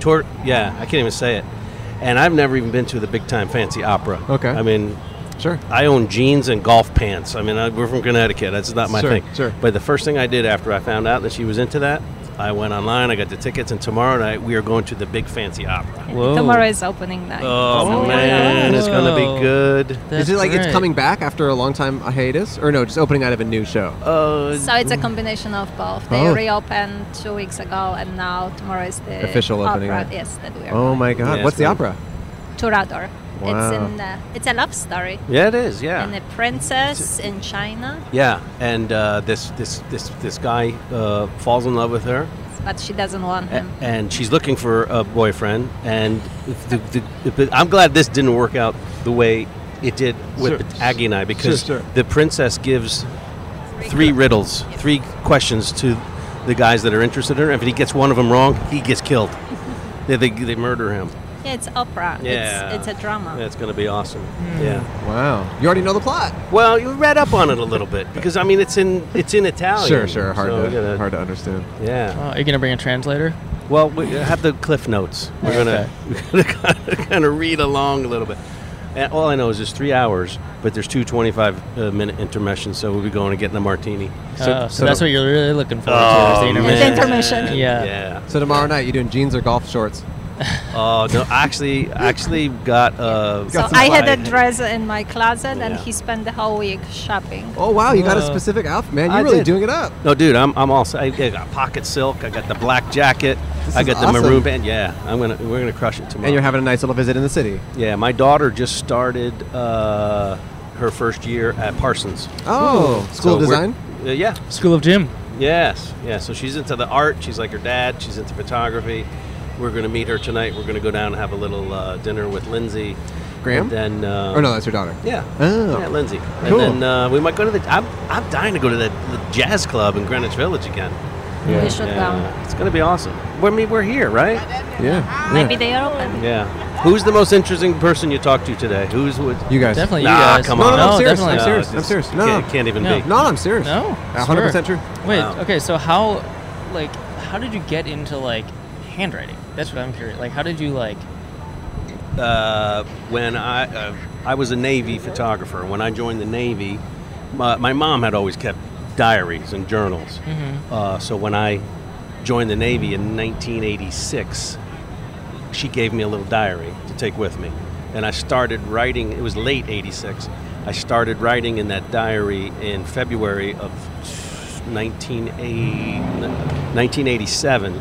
Speaker 4: tour, yeah, I can't even say it." And I've never even been to the big time fancy opera.
Speaker 2: Okay.
Speaker 4: I mean,
Speaker 2: Sure.
Speaker 4: I own jeans and golf pants. I mean, I, we're from Connecticut. That's not my
Speaker 2: Sure,
Speaker 4: thing.
Speaker 2: sure.
Speaker 4: But the first thing I did after I found out that she was into that, I went online. I got the tickets, and tomorrow night we are going to the big fancy opera.
Speaker 8: Tomorrow is opening night.
Speaker 4: Oh,
Speaker 8: So-
Speaker 4: man, it's gonna
Speaker 1: Oh.
Speaker 4: be good.
Speaker 2: is it like it's coming back after a long time hiatus, or no? Just opening out of a new show.
Speaker 4: Uh,
Speaker 8: So it's a combination of both. They
Speaker 2: Oh.
Speaker 8: reopened two weeks ago, and now tomorrow is the
Speaker 2: Official opening
Speaker 8: opera,
Speaker 2: night.
Speaker 8: Yes, that we are.
Speaker 2: Oh my God!
Speaker 4: Yeah,
Speaker 2: What's
Speaker 4: it's
Speaker 2: the
Speaker 4: good.
Speaker 2: opera?
Speaker 8: Torador. It's
Speaker 4: Wow.
Speaker 8: in. Uh, it's a love story.
Speaker 4: Yeah, it is, yeah.
Speaker 8: And a princess in China,
Speaker 4: Yeah, and uh, this this this this guy uh, falls in love with her.
Speaker 8: but she doesn't want
Speaker 4: A-
Speaker 8: him.
Speaker 4: and she's looking for a boyfriend. And if the, the, if it- I'm glad this didn't work out the way it did with
Speaker 9: Sure.
Speaker 4: Aggie and I because
Speaker 9: Sure, sure.
Speaker 4: the princess gives three riddles, three questions to the guys that are interested in her. If he gets one of them wrong, he gets killed. they, they, they murder him.
Speaker 8: Yeah, it's opera.
Speaker 4: Yeah.
Speaker 8: It's, it's a drama.
Speaker 4: That's going to be awesome.
Speaker 1: Hmm.
Speaker 8: Mm.
Speaker 4: Yeah.
Speaker 2: Wow. You already know the plot.
Speaker 4: Well, you read up on it a little bit because I mean it's in it's in Italian.
Speaker 2: Sure, sure. Hard
Speaker 4: so,
Speaker 2: to
Speaker 4: you know,
Speaker 2: hard Uh. to understand.
Speaker 4: Yeah.
Speaker 1: Oh, are you gonna bring a translator?
Speaker 4: Well, we uh, have the cliff notes. We're gonna, we're gonna kind of read along a little bit. And all I know is it's three hours, but there's two 25 uh, minute intermissions, so we'll be going and getting a martini.
Speaker 1: So- Oh, so so that's the- what you're really looking forward to, is the
Speaker 4: Oh,
Speaker 1: intermission.
Speaker 4: man.
Speaker 1: The intermission. Yeah.
Speaker 4: Yeah.
Speaker 2: So tomorrow night you doing jeans or golf shorts?
Speaker 4: Oh no! Actually, actually got uh.
Speaker 8: So I had a dress in my closet, and he spent the whole week shopping.
Speaker 2: Oh wow! You got a specific outfit, man. You're
Speaker 4: I
Speaker 2: really
Speaker 4: did.
Speaker 2: doing it up.
Speaker 4: No, dude, I'm I'm all. set. I I got pocket silk. I got the black jacket.
Speaker 2: This
Speaker 4: I
Speaker 2: is
Speaker 4: got the
Speaker 2: awesome.
Speaker 4: maroon band. Yeah, I'm gonna we're gonna crush it tomorrow.
Speaker 2: And you're having a nice little visit in the city.
Speaker 4: Yeah, my daughter just started uh, her first year at Parsons.
Speaker 2: Oh,
Speaker 4: Ooh.
Speaker 2: school of
Speaker 4: So we're-
Speaker 2: design?
Speaker 4: Uh, yeah.
Speaker 1: School of Gym.
Speaker 4: Yes. Yeah. So she's into the art. She's like her dad. She's into photography. We're going to meet her tonight. We're going to go down and have a little uh, dinner with Lindsay.
Speaker 2: Graham?
Speaker 4: And then. Uh,
Speaker 2: Oh no, that's your daughter.
Speaker 4: Yeah.
Speaker 2: Oh.
Speaker 4: Yeah, Lindsay.
Speaker 2: Cool.
Speaker 4: And then uh, we might go to the. I'm, I'm dying to go to the, the jazz club in Greenwich Village again.
Speaker 8: Yeah. You should go.
Speaker 4: It's going to be awesome. We're, I mean, we're here, right?
Speaker 2: Yeah.
Speaker 8: Maybe they are open.
Speaker 4: Yeah. Who's the most interesting person you talked to today? Who's would
Speaker 2: You guys.
Speaker 1: Definitely you
Speaker 4: Nah,
Speaker 1: guys.
Speaker 4: Come
Speaker 1: No,
Speaker 4: on.
Speaker 1: no, No,
Speaker 4: I'm serious.
Speaker 1: definitely.
Speaker 4: No,
Speaker 1: I'm serious.
Speaker 4: it's-
Speaker 1: I'm serious.
Speaker 4: it
Speaker 1: No.
Speaker 4: Can't, it can't even
Speaker 1: No.
Speaker 4: be.
Speaker 2: No, I'm serious.
Speaker 1: No,
Speaker 2: A hundred percent
Speaker 1: swear.
Speaker 2: true.
Speaker 1: Wait,
Speaker 4: Wow.
Speaker 1: okay, so how, like, how did you get into like handwriting? That's what I'm curious. Like, how did you like?
Speaker 4: uh, when I uh, I was a Navy photographer. When I joined the Navy, my, my mom had always kept diaries and journals.
Speaker 9: Mhm.
Speaker 4: Uh, so when I joined the Navy in 1986, she gave me a little diary to take with me, and I started writing. It was late '86. I started writing in that diary in February of 19, 1987,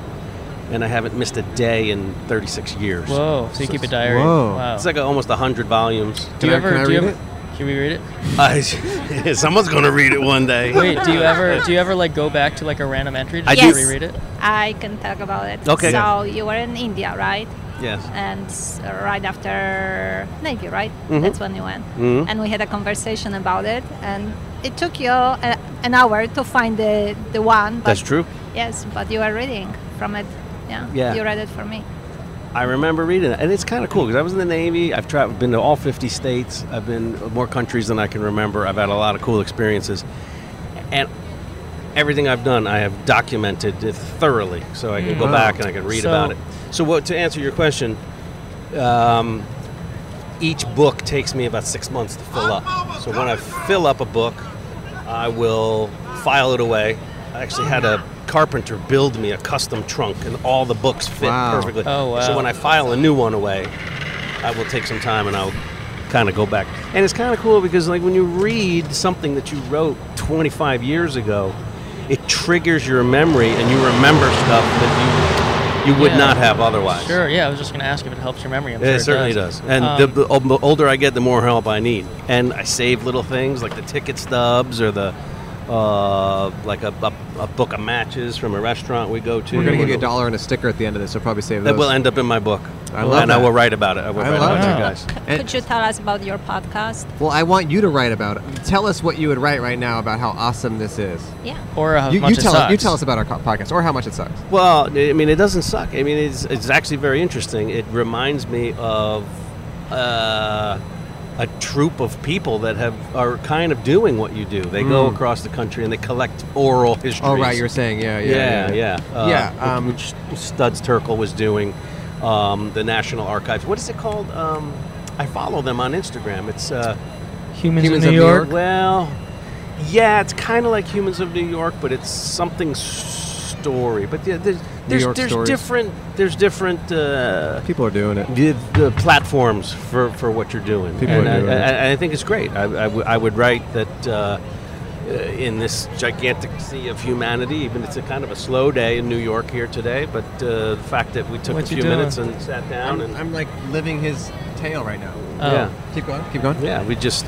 Speaker 4: and I haven't missed a day in 36 years.
Speaker 1: Whoa! So you keep a diary. Wow.
Speaker 4: It's like a, almost 100 volumes.
Speaker 1: do you ever? do you ever? Can we read it?
Speaker 4: it? someone's going to read it one day.
Speaker 1: Wait, do you ever? Do you ever like go back to like a random entry? Just
Speaker 4: I
Speaker 1: to
Speaker 4: do.
Speaker 1: reread it?
Speaker 8: I can talk about it.
Speaker 4: Okay.
Speaker 8: So you were in India, right?
Speaker 4: Yes.
Speaker 8: And s- right after Navy, right?
Speaker 4: Mhm.
Speaker 8: That's when you went.
Speaker 4: Mhm.
Speaker 8: And we had a conversation about it, and it took you a, an hour to find the, the one. But
Speaker 4: That's true.
Speaker 8: Yes, but you are reading from it. Yeah.
Speaker 4: Yeah.
Speaker 8: You read it for me.
Speaker 4: I remember reading it, and it's kind of cool because I was in the Navy. I've traveled, been to all 50 states. I've been to more countries than I can remember. I've had a lot of cool experiences, and everything I've done, I have documented it thoroughly, so I can go
Speaker 9: Mm.
Speaker 4: back and I can read
Speaker 9: So-
Speaker 4: about it. So, what to answer your question, um, each book takes me about six months to fill up. So when I fill up a book, I will file it away. I actually had a carpenter build me a custom trunk, and all the books fit
Speaker 9: Wow.
Speaker 4: perfectly.
Speaker 9: Oh, wow.
Speaker 4: So when I file a new one away, I will take some time and I'll kind of go back. And it's kind of cool because, like, when you read something that you wrote 25 years ago, it triggers your memory and you remember stuff that you you would
Speaker 1: Yeah.
Speaker 4: not have otherwise.
Speaker 1: Sure. Yeah, I was just gonna ask if it helps your memory. I'm
Speaker 4: it
Speaker 1: sure
Speaker 4: certainly does. And
Speaker 1: Um,
Speaker 4: the, the ol- the older I get, the more help I need. And I save little things like the ticket stubs or the uh, like a, a, a book of matches from a restaurant we go to.
Speaker 2: We're gonna give you a
Speaker 4: Or the-
Speaker 2: dollar and a sticker at the end of this. So probably save
Speaker 4: That
Speaker 2: those.
Speaker 4: will end up in my book.
Speaker 2: I love
Speaker 4: and I
Speaker 2: that.
Speaker 4: will write about it. I will
Speaker 2: I
Speaker 4: write
Speaker 2: love
Speaker 4: about
Speaker 2: that.
Speaker 4: you guys.
Speaker 8: Could you tell us about your podcast?
Speaker 2: Well, I want you to write about it. Tell us what you would write right now about how awesome this is.
Speaker 8: Yeah.
Speaker 1: Or how
Speaker 2: you,
Speaker 1: much
Speaker 2: you
Speaker 1: it
Speaker 2: tell you
Speaker 1: sucks.
Speaker 2: tell us about our co- podcast or how much it sucks.
Speaker 4: Well, I mean, it doesn't suck. I mean, it's, it's actually very interesting. It reminds me of uh, a troop of people that have are kind of doing what you do. They go
Speaker 2: Mm.
Speaker 4: across the country and they collect oral histories.
Speaker 2: Oh, right, you were saying, yeah, yeah,
Speaker 4: yeah,
Speaker 2: yeah.
Speaker 4: yeah, Uh,
Speaker 2: Yeah, um,
Speaker 4: which- which, Studs Terkel was doing. Um, the National Archives. What is it called? Um, I follow them on Instagram. It's uh,
Speaker 1: Humans, of New York.
Speaker 4: Well, yeah, it's kind of like Humans of New York, but it's something story. But yeah, there's there's,
Speaker 2: York
Speaker 4: there's
Speaker 2: stories.
Speaker 4: different there's different uh,
Speaker 2: People are doing it.
Speaker 4: the, the platforms for, for what you're doing.
Speaker 2: People
Speaker 4: and
Speaker 2: are
Speaker 4: I,
Speaker 2: doing
Speaker 4: I,
Speaker 2: it.
Speaker 4: I- I think it's great. I, I, w- I would write that uh, uh, in this gigantic sea of humanity, even it's a kind of a slow day in New York here today, but uh, the fact that we took a
Speaker 2: What
Speaker 4: few
Speaker 2: you doing?
Speaker 4: minutes and sat down and
Speaker 2: I'm oh. like living his tale right now.
Speaker 4: yeah.
Speaker 2: Keep going. Keep going.
Speaker 4: Yeah, we just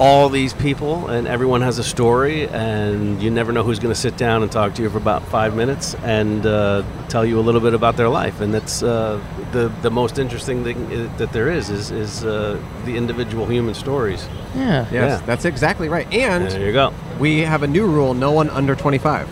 Speaker 4: all these people and everyone has a story, and you never know who's going to sit down and talk to you for about five minutes and uh, tell you a little bit about their life, and that's uh, the the most interesting thing i- that there is is is uh, the individual human stories.
Speaker 1: Yeah.
Speaker 2: Yes, that's exactly right. And
Speaker 4: There you go.
Speaker 2: We have a new rule: no one under 25,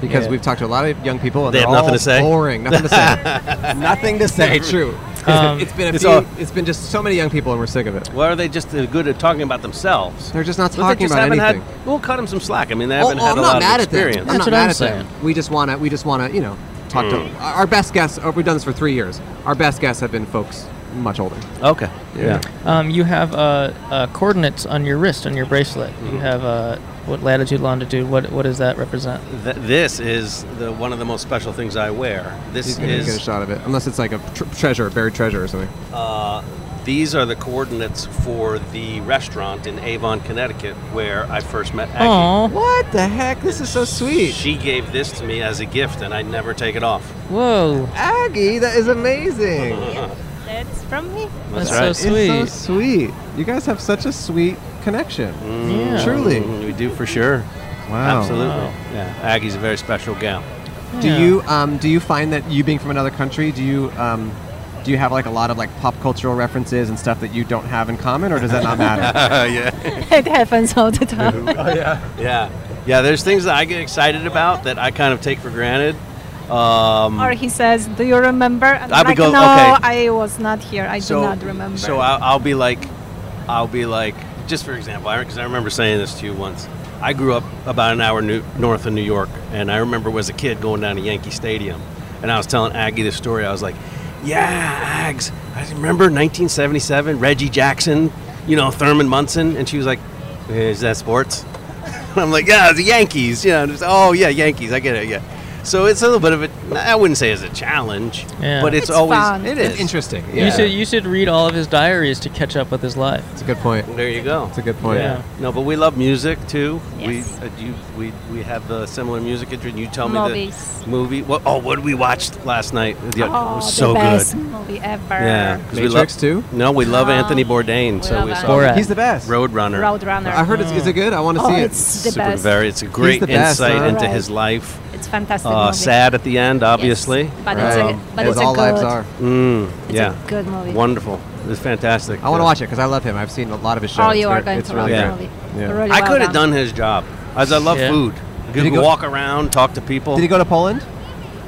Speaker 2: because
Speaker 4: Yeah.
Speaker 2: we've talked to a lot of young people and
Speaker 4: They
Speaker 2: are
Speaker 4: have nothing
Speaker 2: all
Speaker 4: to say?
Speaker 2: boring. Nothing to say. nothing to say. True.
Speaker 4: Um,
Speaker 2: it's been a
Speaker 4: it's
Speaker 2: few-
Speaker 4: all-
Speaker 2: it's been just so many young people, and we're sick of it.
Speaker 4: Why are they just uh, good at talking about themselves?
Speaker 2: They're just not
Speaker 4: But they
Speaker 2: talking
Speaker 4: just
Speaker 2: about
Speaker 4: haven't had-
Speaker 2: anything.
Speaker 4: we'll cut them some slack. I mean, they
Speaker 2: Oh,
Speaker 4: haven't
Speaker 2: oh,
Speaker 4: had
Speaker 2: I'm
Speaker 4: a
Speaker 2: not
Speaker 4: lot
Speaker 2: mad
Speaker 4: of
Speaker 2: at them.
Speaker 4: experience.
Speaker 2: I'm not mad at them. We just want to. We just want to. You know, talk
Speaker 4: Mm.
Speaker 2: to our best guests. Over we've done this for three years. Our best guests have been folks much older.
Speaker 4: Okay.
Speaker 2: Yeah.
Speaker 1: Um, you have uh, uh, coordinates on your wrist on your bracelet. You
Speaker 4: Mhm.
Speaker 1: have uh, what latitude, longitude. What what does that represent?
Speaker 4: Th- this is the one of the most special things I wear. This
Speaker 2: He's gonna
Speaker 4: is
Speaker 2: get a shot of it, unless it's like a tr- treasure, buried treasure or something.
Speaker 4: Uh, these are the coordinates for the restaurant in Avon, Connecticut, where I first met Aggie.
Speaker 2: What the heck? This is so sweet.
Speaker 4: She gave this to me as a gift, and I never take it off.
Speaker 1: Whoa.
Speaker 2: Aggie, that is amazing.
Speaker 8: That's from me.
Speaker 4: That's right.
Speaker 2: It's so sweet. You guys have such a sweet connection.
Speaker 4: Mm,
Speaker 1: Yeah.
Speaker 2: Truly.
Speaker 4: we do for sure.
Speaker 2: Wow.
Speaker 4: absolutely.
Speaker 2: Wow.
Speaker 4: Yeah, Aggie's a very special gal.
Speaker 2: Do you um, do you find that you being from another country, do you um, do you have like a lot of like pop cultural references and stuff that you don't have in common, or does that not matter?
Speaker 4: yeah.
Speaker 8: it happens all the time.
Speaker 4: Yeah, yeah. There's things that I get excited about that I kind of take for granted. Um,
Speaker 8: Or he says, "Do you remember?" And
Speaker 4: I
Speaker 8: I'm
Speaker 4: would
Speaker 8: like,
Speaker 4: go,
Speaker 8: "No,
Speaker 4: okay."
Speaker 8: I was not here. I do not remember."
Speaker 4: So uh, I'll, I'll be like, I'll be like, just for example, because I, remember saying this to you once. I grew up about an hour new, north of New York, and I remember as a kid going down to Yankee Stadium, and I was telling Aggie this story. I was like, Yeah, Ags, I remember 1977, Reggie Jackson, you know, Thurman Munson, and she was like, Is that sports? And I'm like, Yeah, it's the Yankees, you know. and it's, oh yeah, Yankees, I get it, yeah. So it's a little bit of a, I wouldn't say it's a challenge,
Speaker 1: Yeah.
Speaker 4: but it's,
Speaker 1: It's
Speaker 4: always
Speaker 1: fun.
Speaker 4: it
Speaker 1: It's
Speaker 4: is
Speaker 2: interesting,
Speaker 1: You should you should read all of his diaries to catch up with his life.
Speaker 2: That's a good point.
Speaker 4: There you go. It's
Speaker 2: a good point.
Speaker 4: Yeah. No, but we love music too.
Speaker 8: Yes.
Speaker 4: We uh, you, we we have a similar music interest. You tell
Speaker 8: Movies.
Speaker 4: me the movie. What? Oh, what we watched last night? Yeah,
Speaker 8: oh,
Speaker 4: it was so
Speaker 8: the best
Speaker 4: good.
Speaker 8: movie ever.
Speaker 4: Yeah, 'cause we
Speaker 2: Matrix
Speaker 4: love,
Speaker 2: too?
Speaker 4: No, we love
Speaker 8: Oh,
Speaker 4: Anthony Bourdain.
Speaker 8: we
Speaker 4: so
Speaker 8: love
Speaker 4: we
Speaker 8: Anthony.
Speaker 4: saw
Speaker 2: Borat. He's the best.
Speaker 4: Roadrunner.
Speaker 8: Roadrunner.
Speaker 2: I heard it's, is it good? I want to
Speaker 8: Oh,
Speaker 2: see it.
Speaker 8: it's the best.
Speaker 4: Very. It's a
Speaker 2: He's
Speaker 4: great
Speaker 2: the best,
Speaker 4: insight
Speaker 2: huh?
Speaker 4: into
Speaker 8: Right.
Speaker 4: his life.
Speaker 8: It's fantastic.
Speaker 4: uh,
Speaker 8: movie.
Speaker 4: sad at the end, obviously.
Speaker 8: but it's a- Right. but As it's a all lives good- are.
Speaker 4: Mm,
Speaker 8: it's a
Speaker 4: yeah.
Speaker 8: good movie.
Speaker 4: Wonderful. It's fantastic.
Speaker 2: I want to watch it because I love him. I've seen a lot of his shows.
Speaker 8: Oh, you are
Speaker 2: They're-
Speaker 8: going
Speaker 2: it's
Speaker 8: to
Speaker 2: really
Speaker 8: love
Speaker 2: great.
Speaker 8: the movie. Really
Speaker 4: I
Speaker 8: well
Speaker 4: could have
Speaker 8: done.
Speaker 4: done his job, as I love
Speaker 8: Yeah.
Speaker 4: food. You
Speaker 2: he
Speaker 4: can
Speaker 2: go-
Speaker 4: walk around, talk to people.
Speaker 2: Did he go to Poland?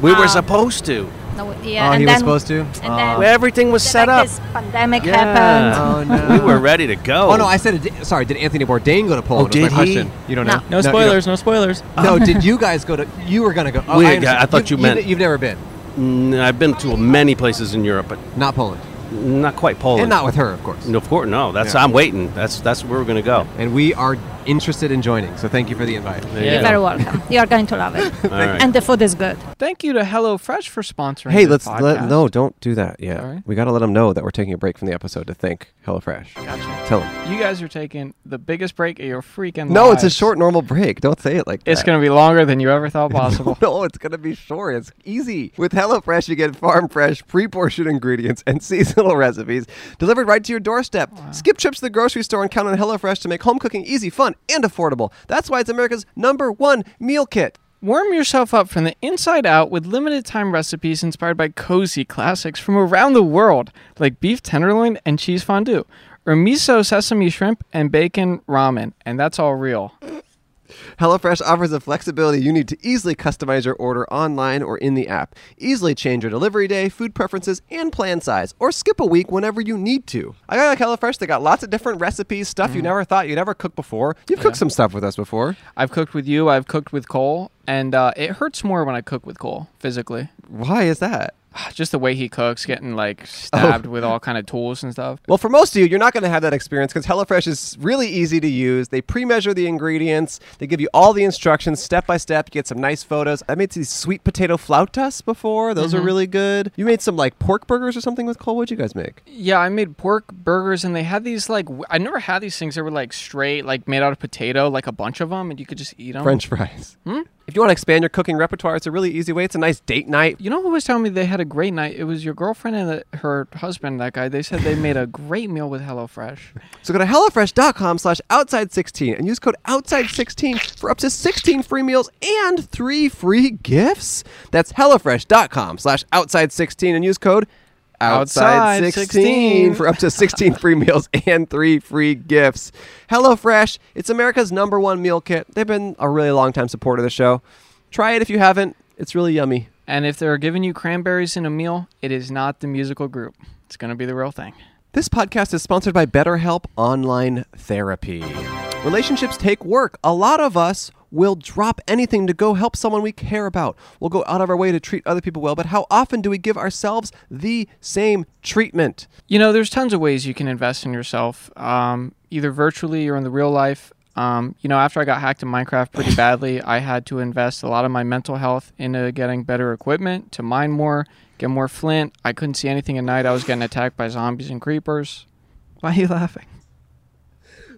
Speaker 4: We were
Speaker 8: Um,
Speaker 4: supposed to.
Speaker 8: No, yeah,
Speaker 4: Oh,
Speaker 8: and
Speaker 4: he was
Speaker 8: then,
Speaker 4: supposed to?
Speaker 8: And
Speaker 4: Oh.
Speaker 8: then
Speaker 4: Well, everything was set
Speaker 8: like
Speaker 4: up.
Speaker 8: This pandemic
Speaker 4: Yeah.
Speaker 8: happened.
Speaker 4: Oh, no. We were ready to go.
Speaker 2: Oh no, I said. It, sorry, did Anthony Bourdain go to Poland? was
Speaker 4: did
Speaker 2: my
Speaker 4: he?
Speaker 2: Question. You don't
Speaker 1: No.
Speaker 2: know.
Speaker 1: No
Speaker 2: you don't-
Speaker 1: spoilers, no spoilers.
Speaker 2: No, did you guys go to? You were gonna go. Oh,
Speaker 4: We-
Speaker 2: I, understand.
Speaker 4: I thought you meant-
Speaker 2: You've, never been,
Speaker 4: Mm, I've been to many places in Europe, but
Speaker 2: not Poland.
Speaker 4: Not quite Poland.
Speaker 2: and not with her, of course.
Speaker 4: No, of course, no. That's
Speaker 2: Yeah.
Speaker 4: I'm waiting. That's that's where we're gonna go.
Speaker 2: And we are interested in joining, so thank you for the invite.
Speaker 4: There
Speaker 8: You're very welcome. You are going to love it.
Speaker 4: All right.
Speaker 8: And the food is good.
Speaker 7: Thank you to HelloFresh for sponsoring.
Speaker 2: Hey,
Speaker 7: the
Speaker 2: let's let,
Speaker 7: podcast.
Speaker 2: no, don't do that yet.
Speaker 7: Sorry?
Speaker 2: We got to let them know that we're taking a break from the episode to thank HelloFresh.
Speaker 7: Gotcha.
Speaker 2: Tell them.
Speaker 7: You guys are taking the biggest break of your freaking.
Speaker 2: No, it's a
Speaker 7: lives.
Speaker 2: short normal break. Don't say it like that.
Speaker 7: It's going to be longer than you ever thought possible.
Speaker 2: no, it's going to be short. It's easy. With HelloFresh, you get farm fresh, pre portioned ingredients and seasonal recipes delivered right to your doorstep. Skip trips to the grocery store and count on HelloFresh to make home cooking easy, fun, and affordable. That's why it's America's number one meal kit.
Speaker 7: Warm yourself up from the inside out with limited time recipes inspired by cozy classics from around the world, like beef tenderloin and cheese fondue, or miso sesame shrimp and bacon ramen. And that's all real.
Speaker 2: HelloFresh offers the flexibility you need to easily customize your order online or in the app. Easily change your delivery day, food preferences, and plan size, or skip a week whenever you need to. I like HelloFresh. They got lots of different recipes, stuff you never thought you'd ever cook before. You've cooked some stuff with us before.
Speaker 7: I've cooked with you, I've cooked with Cole, and uh, it hurts more when I cook with Cole physically.
Speaker 2: Why is that?
Speaker 7: Just the way he cooks, getting like stabbed with all kind of tools and stuff.
Speaker 2: Well, for most of you, you're not going to have that experience because HelloFresh is really easy to use. They pre-measure the ingredients. They give you all the instructions step by step. You get some nice photos. I made these sweet potato flautas before. Those are
Speaker 7: Mhm.
Speaker 2: really good. You made some like pork burgers or something with Cole. What'd you guys make?
Speaker 7: Yeah, I made pork burgers, and they had these like w- I never had these things. They were like straight, like made out of potato, like a bunch of them, and you could just eat them.
Speaker 2: French fries.
Speaker 7: Hmm?
Speaker 2: If you want to expand your cooking repertoire, it's a really easy way. It's a nice date night.
Speaker 7: You know who was telling me they had a great night? It was your girlfriend and the, her husband, that guy. They said they made a great meal with HelloFresh.
Speaker 2: So go to HelloFresh.com slash outside16 and use code outside16 for up to 16 free meals and three free gifts. That's HelloFresh.com slash outside16 and use code
Speaker 7: Outside
Speaker 2: outside16 for up to 16 free meals and three free gifts. HelloFresh, it's America's number one meal kit. They've been a really long time supporter of the show. Try it if you haven't. It's really yummy.
Speaker 7: And if they're giving you cranberries in a meal, it is not the musical group. It's going to be the real thing.
Speaker 2: This podcast is sponsored by BetterHelp Online Therapy. Relationships take work. A lot of us will drop anything to go help someone we care about. We'll go out of our way to treat other people well, but how often do we give ourselves the same treatment?
Speaker 7: You know, there's tons of ways you can invest in yourself, um, either virtually or in the real life. Um, you know, after I got hacked in Minecraft pretty badly, I had to invest a lot of my mental health into getting better equipment to mine more, get more flint. I couldn't see anything at night. I was getting attacked by zombies and creepers. Why are you laughing?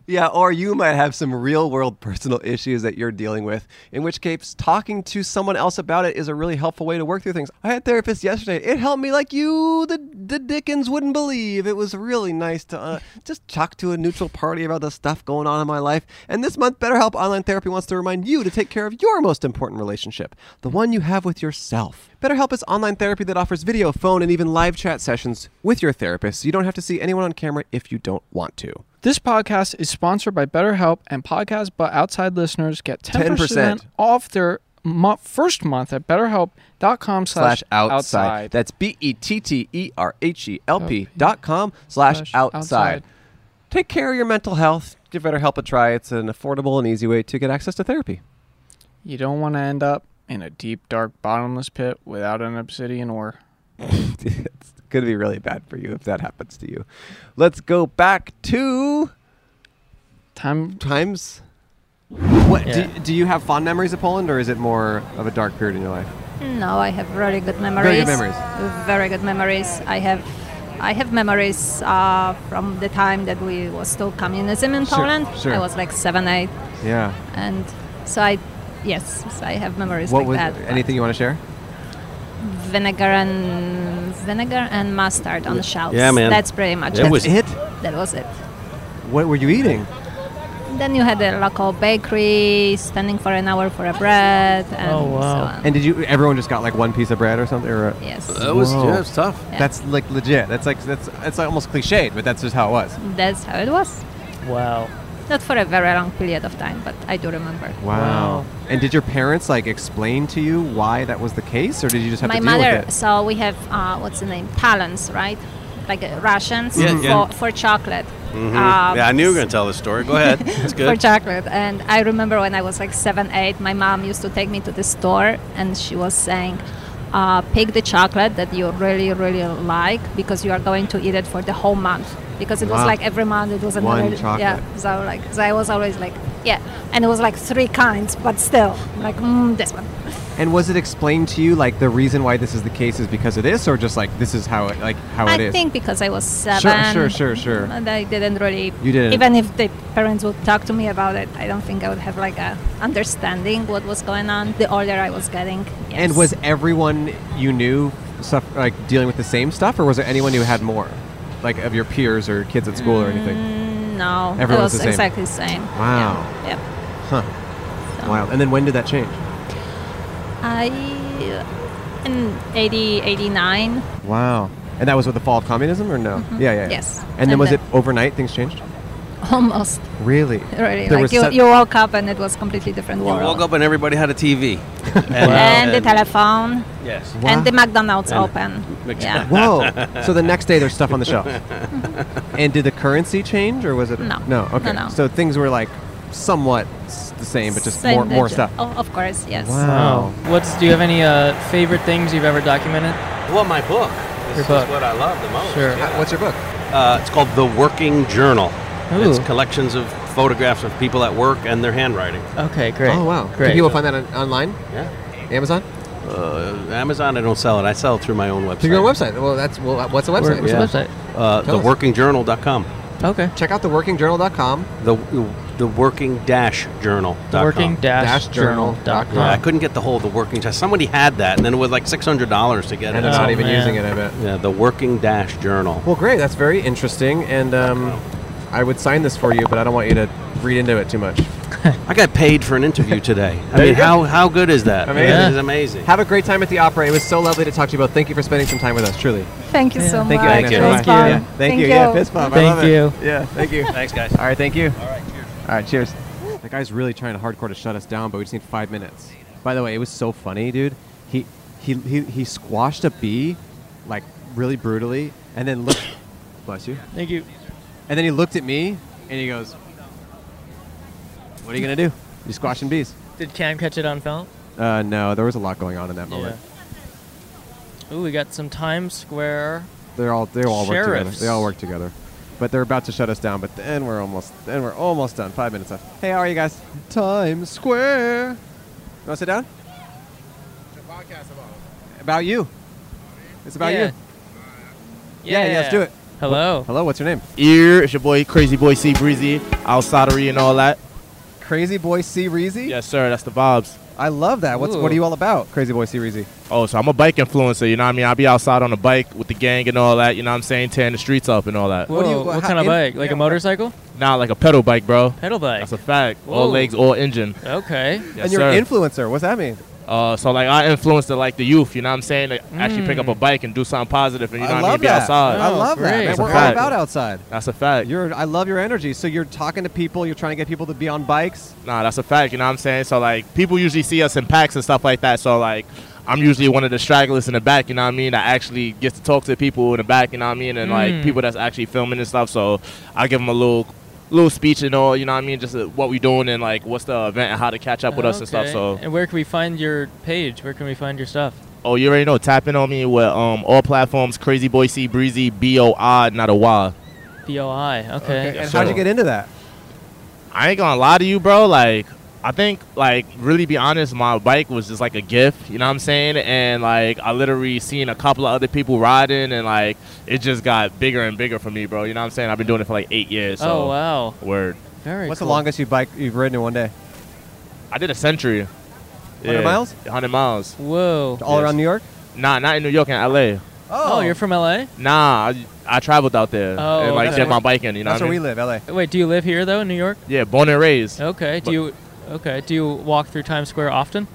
Speaker 2: Yeah, or you might have some real world personal issues that you're dealing with, in which case, talking to someone else about it is a really helpful way to work through things. I had a therapist yesterday. It helped me like you, the, the Dickens wouldn't believe. It was really nice to uh, just talk to a neutral party about the stuff going on in my life. And this month, BetterHelp Online Therapy wants to remind you to take care of your most important relationship, the one you have with yourself. BetterHelp is online therapy that offers video, phone, and even live chat sessions with your therapist, so you don't have to see anyone on camera if you don't want to.
Speaker 7: This podcast is sponsored by BetterHelp, and podcast but outside listeners get 10%,
Speaker 2: 10%.
Speaker 7: off their mo- first month at betterhelp.com
Speaker 2: slash
Speaker 7: slash
Speaker 2: outside. That's B E T T E R H E L P dot com slash outside. Take care of your mental health. Give BetterHelp a try. It's an affordable and easy way to get access to therapy.
Speaker 7: You don't want to end up in a deep, dark, bottomless pit without an obsidian ore.
Speaker 2: it's going to be really bad for you if that happens to you. Let's go back to
Speaker 7: time
Speaker 2: times. What
Speaker 8: Yeah.
Speaker 2: do, do you have fond memories of Poland, or is it more of a dark period in your life?
Speaker 8: No, I have really good memories.
Speaker 2: Very good memories.
Speaker 8: Very good memories. I have, I have memories uh, from the time that we was still communism in
Speaker 2: Sure,
Speaker 8: Poland.
Speaker 2: sure.
Speaker 8: I was like seven, eight,
Speaker 2: Yeah.
Speaker 8: and so I, yes, so I have memories
Speaker 2: what
Speaker 8: like
Speaker 2: was
Speaker 8: that.
Speaker 2: anything you want to share?
Speaker 8: Vinegar and vinegar and mustard on the shelves.
Speaker 2: Yeah, man.
Speaker 8: That's pretty much
Speaker 2: That was it?
Speaker 8: That was it.
Speaker 2: What were you eating?
Speaker 8: Then you had a local bakery, standing for an hour for a bread. And So on.
Speaker 2: And did you? Everyone just got like one piece of bread or something? Or
Speaker 8: Yes.
Speaker 2: That
Speaker 8: That was- yeah, it was tough. Yeah.
Speaker 2: That's like legit. That's like that's that's almost cliched, but that's just how it was.
Speaker 8: That's how it was.
Speaker 1: Wow.
Speaker 8: Not for a very long period of time, but I do remember.
Speaker 2: Wow. And did your parents like explain to you why that was the case, or did you just have
Speaker 8: My
Speaker 2: to deal
Speaker 8: mother.
Speaker 2: with it?
Speaker 8: So we have uh, what's the name? Talents, right? Like uh, Russians
Speaker 4: Yeah,
Speaker 8: for,
Speaker 4: yeah.
Speaker 8: for chocolate.
Speaker 4: Mhm.
Speaker 8: Um,
Speaker 4: yeah, I knew you were going to tell this story. Go ahead. It's good.
Speaker 8: for chocolate. And I remember when I was like seven, eight, my mom used to take me to the store and she was saying, uh, pick the chocolate that you really, really like because you are going to eat it for the whole month. Because it was
Speaker 9: Wow.
Speaker 8: like every month it was another.
Speaker 9: One chocolate.
Speaker 8: Yeah. So like so I was always like, yeah. And it was like three kinds, but still, like, mm, this one.
Speaker 2: And was it explained to you like the reason why this is the case is because of this, or just like this is how it like how
Speaker 8: I
Speaker 2: Oh, it is?
Speaker 8: think because I was seven.
Speaker 2: Sure, sure, sure, sure.
Speaker 8: And I didn't really.
Speaker 2: You didn't.
Speaker 8: Even if the parents would talk to me about it, I don't think I would have like a understanding what was going on. The order I was getting. Yes.
Speaker 2: And was everyone you knew stuff like dealing with the same stuff, or was there anyone who had more, like of your peers or kids at school or anything?
Speaker 8: Mm, no, it
Speaker 2: Everyone
Speaker 8: was,
Speaker 2: was the same.
Speaker 8: exactly the same.
Speaker 2: Wow.
Speaker 8: Yep.
Speaker 2: Huh.
Speaker 8: So-
Speaker 2: Wild. And then when did that change?
Speaker 8: I in 80, 89.
Speaker 2: Wow. And that was with the fall of communism, or no?
Speaker 8: Mhm.
Speaker 2: Yeah, yeah. yeah.
Speaker 8: Yes.
Speaker 2: And, then
Speaker 8: And
Speaker 2: was
Speaker 8: the-
Speaker 2: it overnight? Things changed?
Speaker 8: Almost,
Speaker 2: Really?
Speaker 8: really.
Speaker 2: There
Speaker 8: like
Speaker 2: was
Speaker 8: you,
Speaker 2: such-
Speaker 8: you woke up and it was completely different
Speaker 4: You
Speaker 8: world.
Speaker 4: woke up and everybody had a TV. uh,
Speaker 8: And the telephone.
Speaker 4: Yes.
Speaker 8: And the McDonald's
Speaker 4: And
Speaker 8: open.
Speaker 4: Mc-
Speaker 8: Yeah.
Speaker 2: Whoa! so the next day there's stuff on the shelf.
Speaker 4: Mhm.
Speaker 2: and did the currency change or was it?
Speaker 8: No.
Speaker 2: No.
Speaker 8: No,
Speaker 2: Okay.
Speaker 8: no.
Speaker 2: So things were like somewhat s- the same, but just
Speaker 8: Same
Speaker 2: more more
Speaker 8: digit.
Speaker 2: stuff.
Speaker 8: Oh, of course, yes.
Speaker 2: Wow.
Speaker 1: What's do you have any uh, favorite things you've ever documented?
Speaker 4: Well, my book. This
Speaker 1: Your
Speaker 4: is
Speaker 1: book.
Speaker 4: what I love the most.
Speaker 1: Sure.
Speaker 4: yeah.
Speaker 2: What's your book?
Speaker 4: Uh, it's called The Working Journal. It's
Speaker 1: Ooh.
Speaker 4: collections of photographs of people at work and their handwriting.
Speaker 1: Okay, great.
Speaker 2: Oh wow!
Speaker 1: Great.
Speaker 2: Can people find that on, online?
Speaker 4: Yeah.
Speaker 2: Amazon.
Speaker 4: Uh, Amazon, I don't sell it. I sell it through my own website.
Speaker 2: To your own website. Well, that's well. What's the
Speaker 4: Where-
Speaker 2: website?
Speaker 4: yeah. Uh,
Speaker 2: Tell us.
Speaker 4: theworkingjournal.com.
Speaker 1: Okay.
Speaker 2: Check out theworkingjournal.com.
Speaker 4: The the working dash journal.
Speaker 1: Working dash journal dot com.
Speaker 4: Yeah, I couldn't get the whole of the working. Somebody had that, and then it was like six hundred dollars to get
Speaker 2: And
Speaker 4: it.
Speaker 2: they're not Oh, even man. using it, I bet.
Speaker 4: Yeah, the working dash journal.
Speaker 2: Well, great. That's very interesting, and um, I would sign this for you, but I don't want you to read into it too much.
Speaker 4: I got paid for an interview today. I
Speaker 2: There
Speaker 4: mean,
Speaker 2: you go.
Speaker 4: how how good is that?
Speaker 2: Amazing.
Speaker 4: It is amazing.
Speaker 2: Have a great time at the opera. It was so lovely to talk to you both. Thank you for spending some time with us. Truly.
Speaker 8: Thank you so much.
Speaker 2: Thank you.
Speaker 8: It was
Speaker 2: Thank you.
Speaker 8: fun.
Speaker 2: Yeah, thank, you. Yeah, fist bump. I love
Speaker 1: Thank
Speaker 2: it.
Speaker 1: you.
Speaker 2: Yeah, thank you.
Speaker 4: Thanks, guys.
Speaker 2: All right, thank you. All right, cheers. All right, cheers. That guy's really trying to hardcore to shut us down, but we just need five minutes. By the way, it was so funny, dude. He he he, he squashed a bee, like really brutally, and then looked. bless you.
Speaker 1: Thank you.
Speaker 2: And then he looked at me, and he goes, "What are you gonna do? You're squashing bees."
Speaker 1: Did Cam catch it on film?
Speaker 2: Uh, no, there was a lot going on in that moment.
Speaker 1: Ooh, we got some Times Square.
Speaker 2: They're all they all work together.
Speaker 1: Sheriffs.
Speaker 2: They all work together. But they're about to shut us down. But then we're almost then we're almost done. Five minutes left. Hey, how are you guys? Times Square. You wanna sit down? About you. It's about
Speaker 1: Yeah.
Speaker 2: you. Yeah, yeah, let's do it.
Speaker 1: Hello.
Speaker 2: Hello, what's your name?
Speaker 10: Ear, it's your boy Crazy Boy C Breezy, outsidery and all that.
Speaker 2: Crazy Boy C Reezy?
Speaker 10: Yes, sir, that's the vibes.
Speaker 2: I love that. What's what are
Speaker 10: Ooh.
Speaker 2: you all about, Crazy Boy C Reezy?
Speaker 10: Oh, so I'm a bike influencer, you know what I mean? I'll be outside on the bike with the gang and all that, you know what I'm saying? Tearing the streets up and all that.
Speaker 1: Whoa, what, kind of bike? Like a motorcycle?
Speaker 10: Nah, like a pedal bike, bro.
Speaker 1: Pedal bike.
Speaker 10: That's a fact.
Speaker 1: Whoa.
Speaker 10: All legs, all engine.
Speaker 1: Okay.
Speaker 10: Yes,
Speaker 2: and you're
Speaker 10: sir.
Speaker 2: an influencer. What's that mean?
Speaker 10: Uh, so like I influenced the, like the youth, you know what I'm saying? Like, Actually pick up a bike and do something positive and you know
Speaker 2: Mm. I
Speaker 10: what I mean?
Speaker 2: love
Speaker 10: Be
Speaker 2: that.
Speaker 10: outside.
Speaker 2: I love that. Man,
Speaker 10: That's a
Speaker 2: we're all
Speaker 10: fact.
Speaker 2: about outside.
Speaker 10: That's a fact.
Speaker 2: You're I love your energy. So you're talking to people, you're trying to get people to be on bikes.
Speaker 10: Nah, that's a fact. You know what I'm saying? So like people usually see us in packs and stuff like that. So like I'm usually one of the stragglers in the back. You know what I mean? I actually get to talk to people in the back. You know what I mean? And
Speaker 1: Mm.
Speaker 10: like people that's actually filming and stuff. So I give them a little little speech and all. You know what I mean? Just uh, what we doing and like what's the event and how to catch up with us and stuff.
Speaker 1: Okay.
Speaker 10: So
Speaker 1: And where can we find your page? Where can we find your stuff?
Speaker 10: oh, you already know. Tap in on me with um all platforms. Crazy boy C breezy B O I not a Y.
Speaker 1: BOI. Okay.
Speaker 10: Okay,
Speaker 2: And how'd you get into that?
Speaker 10: I ain't gonna lie to you, bro. Like, I think, like, really be honest, my bike was just like a gift. You know what I'm saying? And like, I literally seen a couple of other people riding, and like, it just got bigger and bigger for me, bro. You know what I'm saying? I've been doing it for like eight years. So.
Speaker 1: Oh, wow.
Speaker 10: Word.
Speaker 1: Very
Speaker 2: What's
Speaker 1: cool.
Speaker 2: the longest you bike you've ridden in one day?
Speaker 10: I did a century.
Speaker 2: 100 miles?
Speaker 10: 100 miles.
Speaker 1: Whoa.
Speaker 2: All around New York?
Speaker 10: Nah, not in New York, in LA.
Speaker 1: Oh, you're from LA?
Speaker 10: Nah, I, I traveled out there
Speaker 1: Oh,
Speaker 10: and like
Speaker 1: okay.
Speaker 10: did my biking. You know, what I mean?
Speaker 1: LA. Wait, do you live here though, in New York?
Speaker 10: Yeah, born and raised.
Speaker 1: Okay. Do you okay? Do you walk through Times Square often?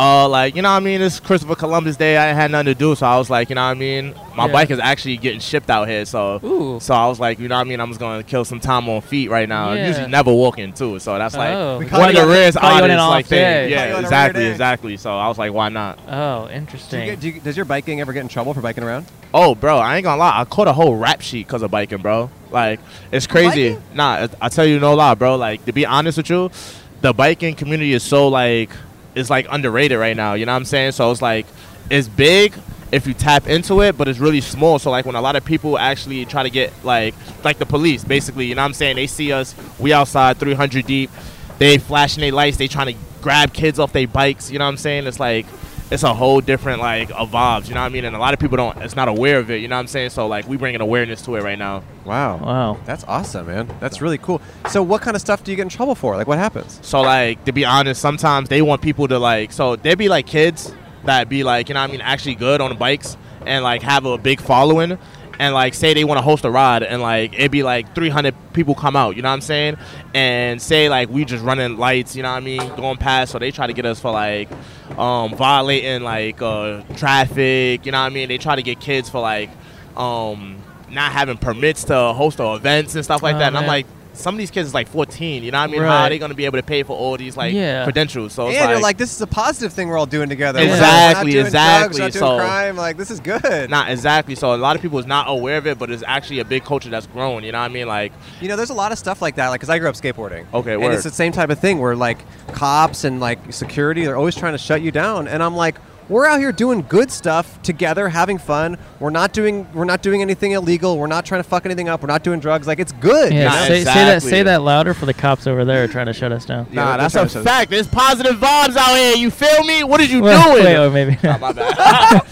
Speaker 10: Uh, like you know, what I mean, it's Christopher Columbus Day. I had nothing to do, so I was like, you know, what I mean, my
Speaker 1: Yeah.
Speaker 10: bike is actually getting shipped out here, so
Speaker 1: Ooh.
Speaker 10: so I was like, you know, what I mean, I'm just gonna kill some time on feet right now.
Speaker 1: Yeah.
Speaker 10: Usually never walking too, so that's like
Speaker 1: Oh. We call
Speaker 10: one of
Speaker 1: you
Speaker 10: the
Speaker 1: on-
Speaker 10: rarest
Speaker 1: call you on an
Speaker 10: oddest
Speaker 1: off
Speaker 10: like
Speaker 1: day.
Speaker 10: thing.
Speaker 1: Call you on a
Speaker 10: Yeah,
Speaker 1: rare
Speaker 10: exactly,
Speaker 1: day.
Speaker 10: exactly. So I was like, why not?
Speaker 1: Oh,
Speaker 2: Do you
Speaker 1: interesting.
Speaker 2: get, do you, does your biking ever get in trouble for biking around?
Speaker 10: Oh, bro, I ain't gonna lie. I caught a whole rap sheet because of biking, bro. Like, it's crazy. Nah, I- I tell you no lie, bro. Like, to be honest with you, the biking community is so, like, it's like underrated right now. You know what I'm saying? So it's like, it's big if you tap into it, but it's really small. So, like, when a lot of people actually try to get, like, like the police, basically, you know what I'm saying? They see us, we outside 300 deep, they flashing their lights, they trying to grab kids off their bikes, you know what I'm saying? It's like, it's a whole different like a vibes, you know what I mean? And a lot of people don't it's not aware of it, you know what I'm saying? So like we bringing awareness to it right now.
Speaker 2: Wow.
Speaker 1: Wow.
Speaker 2: That's awesome, man. That's really cool. So, what kind of stuff do you get in trouble for? Like, what happens?
Speaker 10: So like to be honest, sometimes they want people to like so they be like kids that be like, you know what I mean, actually good on the bikes and like have a big following and like say they want to host a ride and like it'd be like 300 people come out, you know what I'm saying? And say like we just running lights, you know what I mean, going past so they try to get us for like um violating like uh traffic, you know what I mean? They try to get kids for like um not having permits to host our events and stuff like
Speaker 1: Oh,
Speaker 10: that. And I'm
Speaker 1: man.
Speaker 10: like some of these kids is like 14, you know what I mean? How
Speaker 1: Right.
Speaker 10: are they going to be able to pay for all these like
Speaker 1: Yeah.
Speaker 10: credentials? So
Speaker 2: and
Speaker 10: it's
Speaker 2: you're
Speaker 10: like,
Speaker 2: like, this is a positive thing we're all doing together.
Speaker 10: Exactly,
Speaker 2: We're not doing Drugs,
Speaker 10: exactly.
Speaker 2: we're not doing
Speaker 10: So-
Speaker 2: crime. Like, this is good.
Speaker 10: not exactly. So a lot of people is not aware of it, but it's actually a big culture that's grown. You know what I mean? Like,
Speaker 2: You know, there's a lot of stuff like that. Like, cause I grew up skateboarding.
Speaker 10: Okay,
Speaker 2: and
Speaker 10: word.
Speaker 2: it's the same type of thing where like cops and like security, they're always trying to shut you down. And I'm like, we're out here doing good stuff together, having fun. We're not doing we're not doing anything illegal. We're not trying to fuck anything up. We're not doing drugs. Like, it's good.
Speaker 1: Yeah,
Speaker 2: you know?
Speaker 1: say, say that say that louder for the cops over there trying to shut us down.
Speaker 10: nah, that's a fact. There's positive vibes out here. You feel me? What did you
Speaker 1: Well,
Speaker 10: doing?
Speaker 1: wait, oh, maybe.
Speaker 10: Oh, my bad.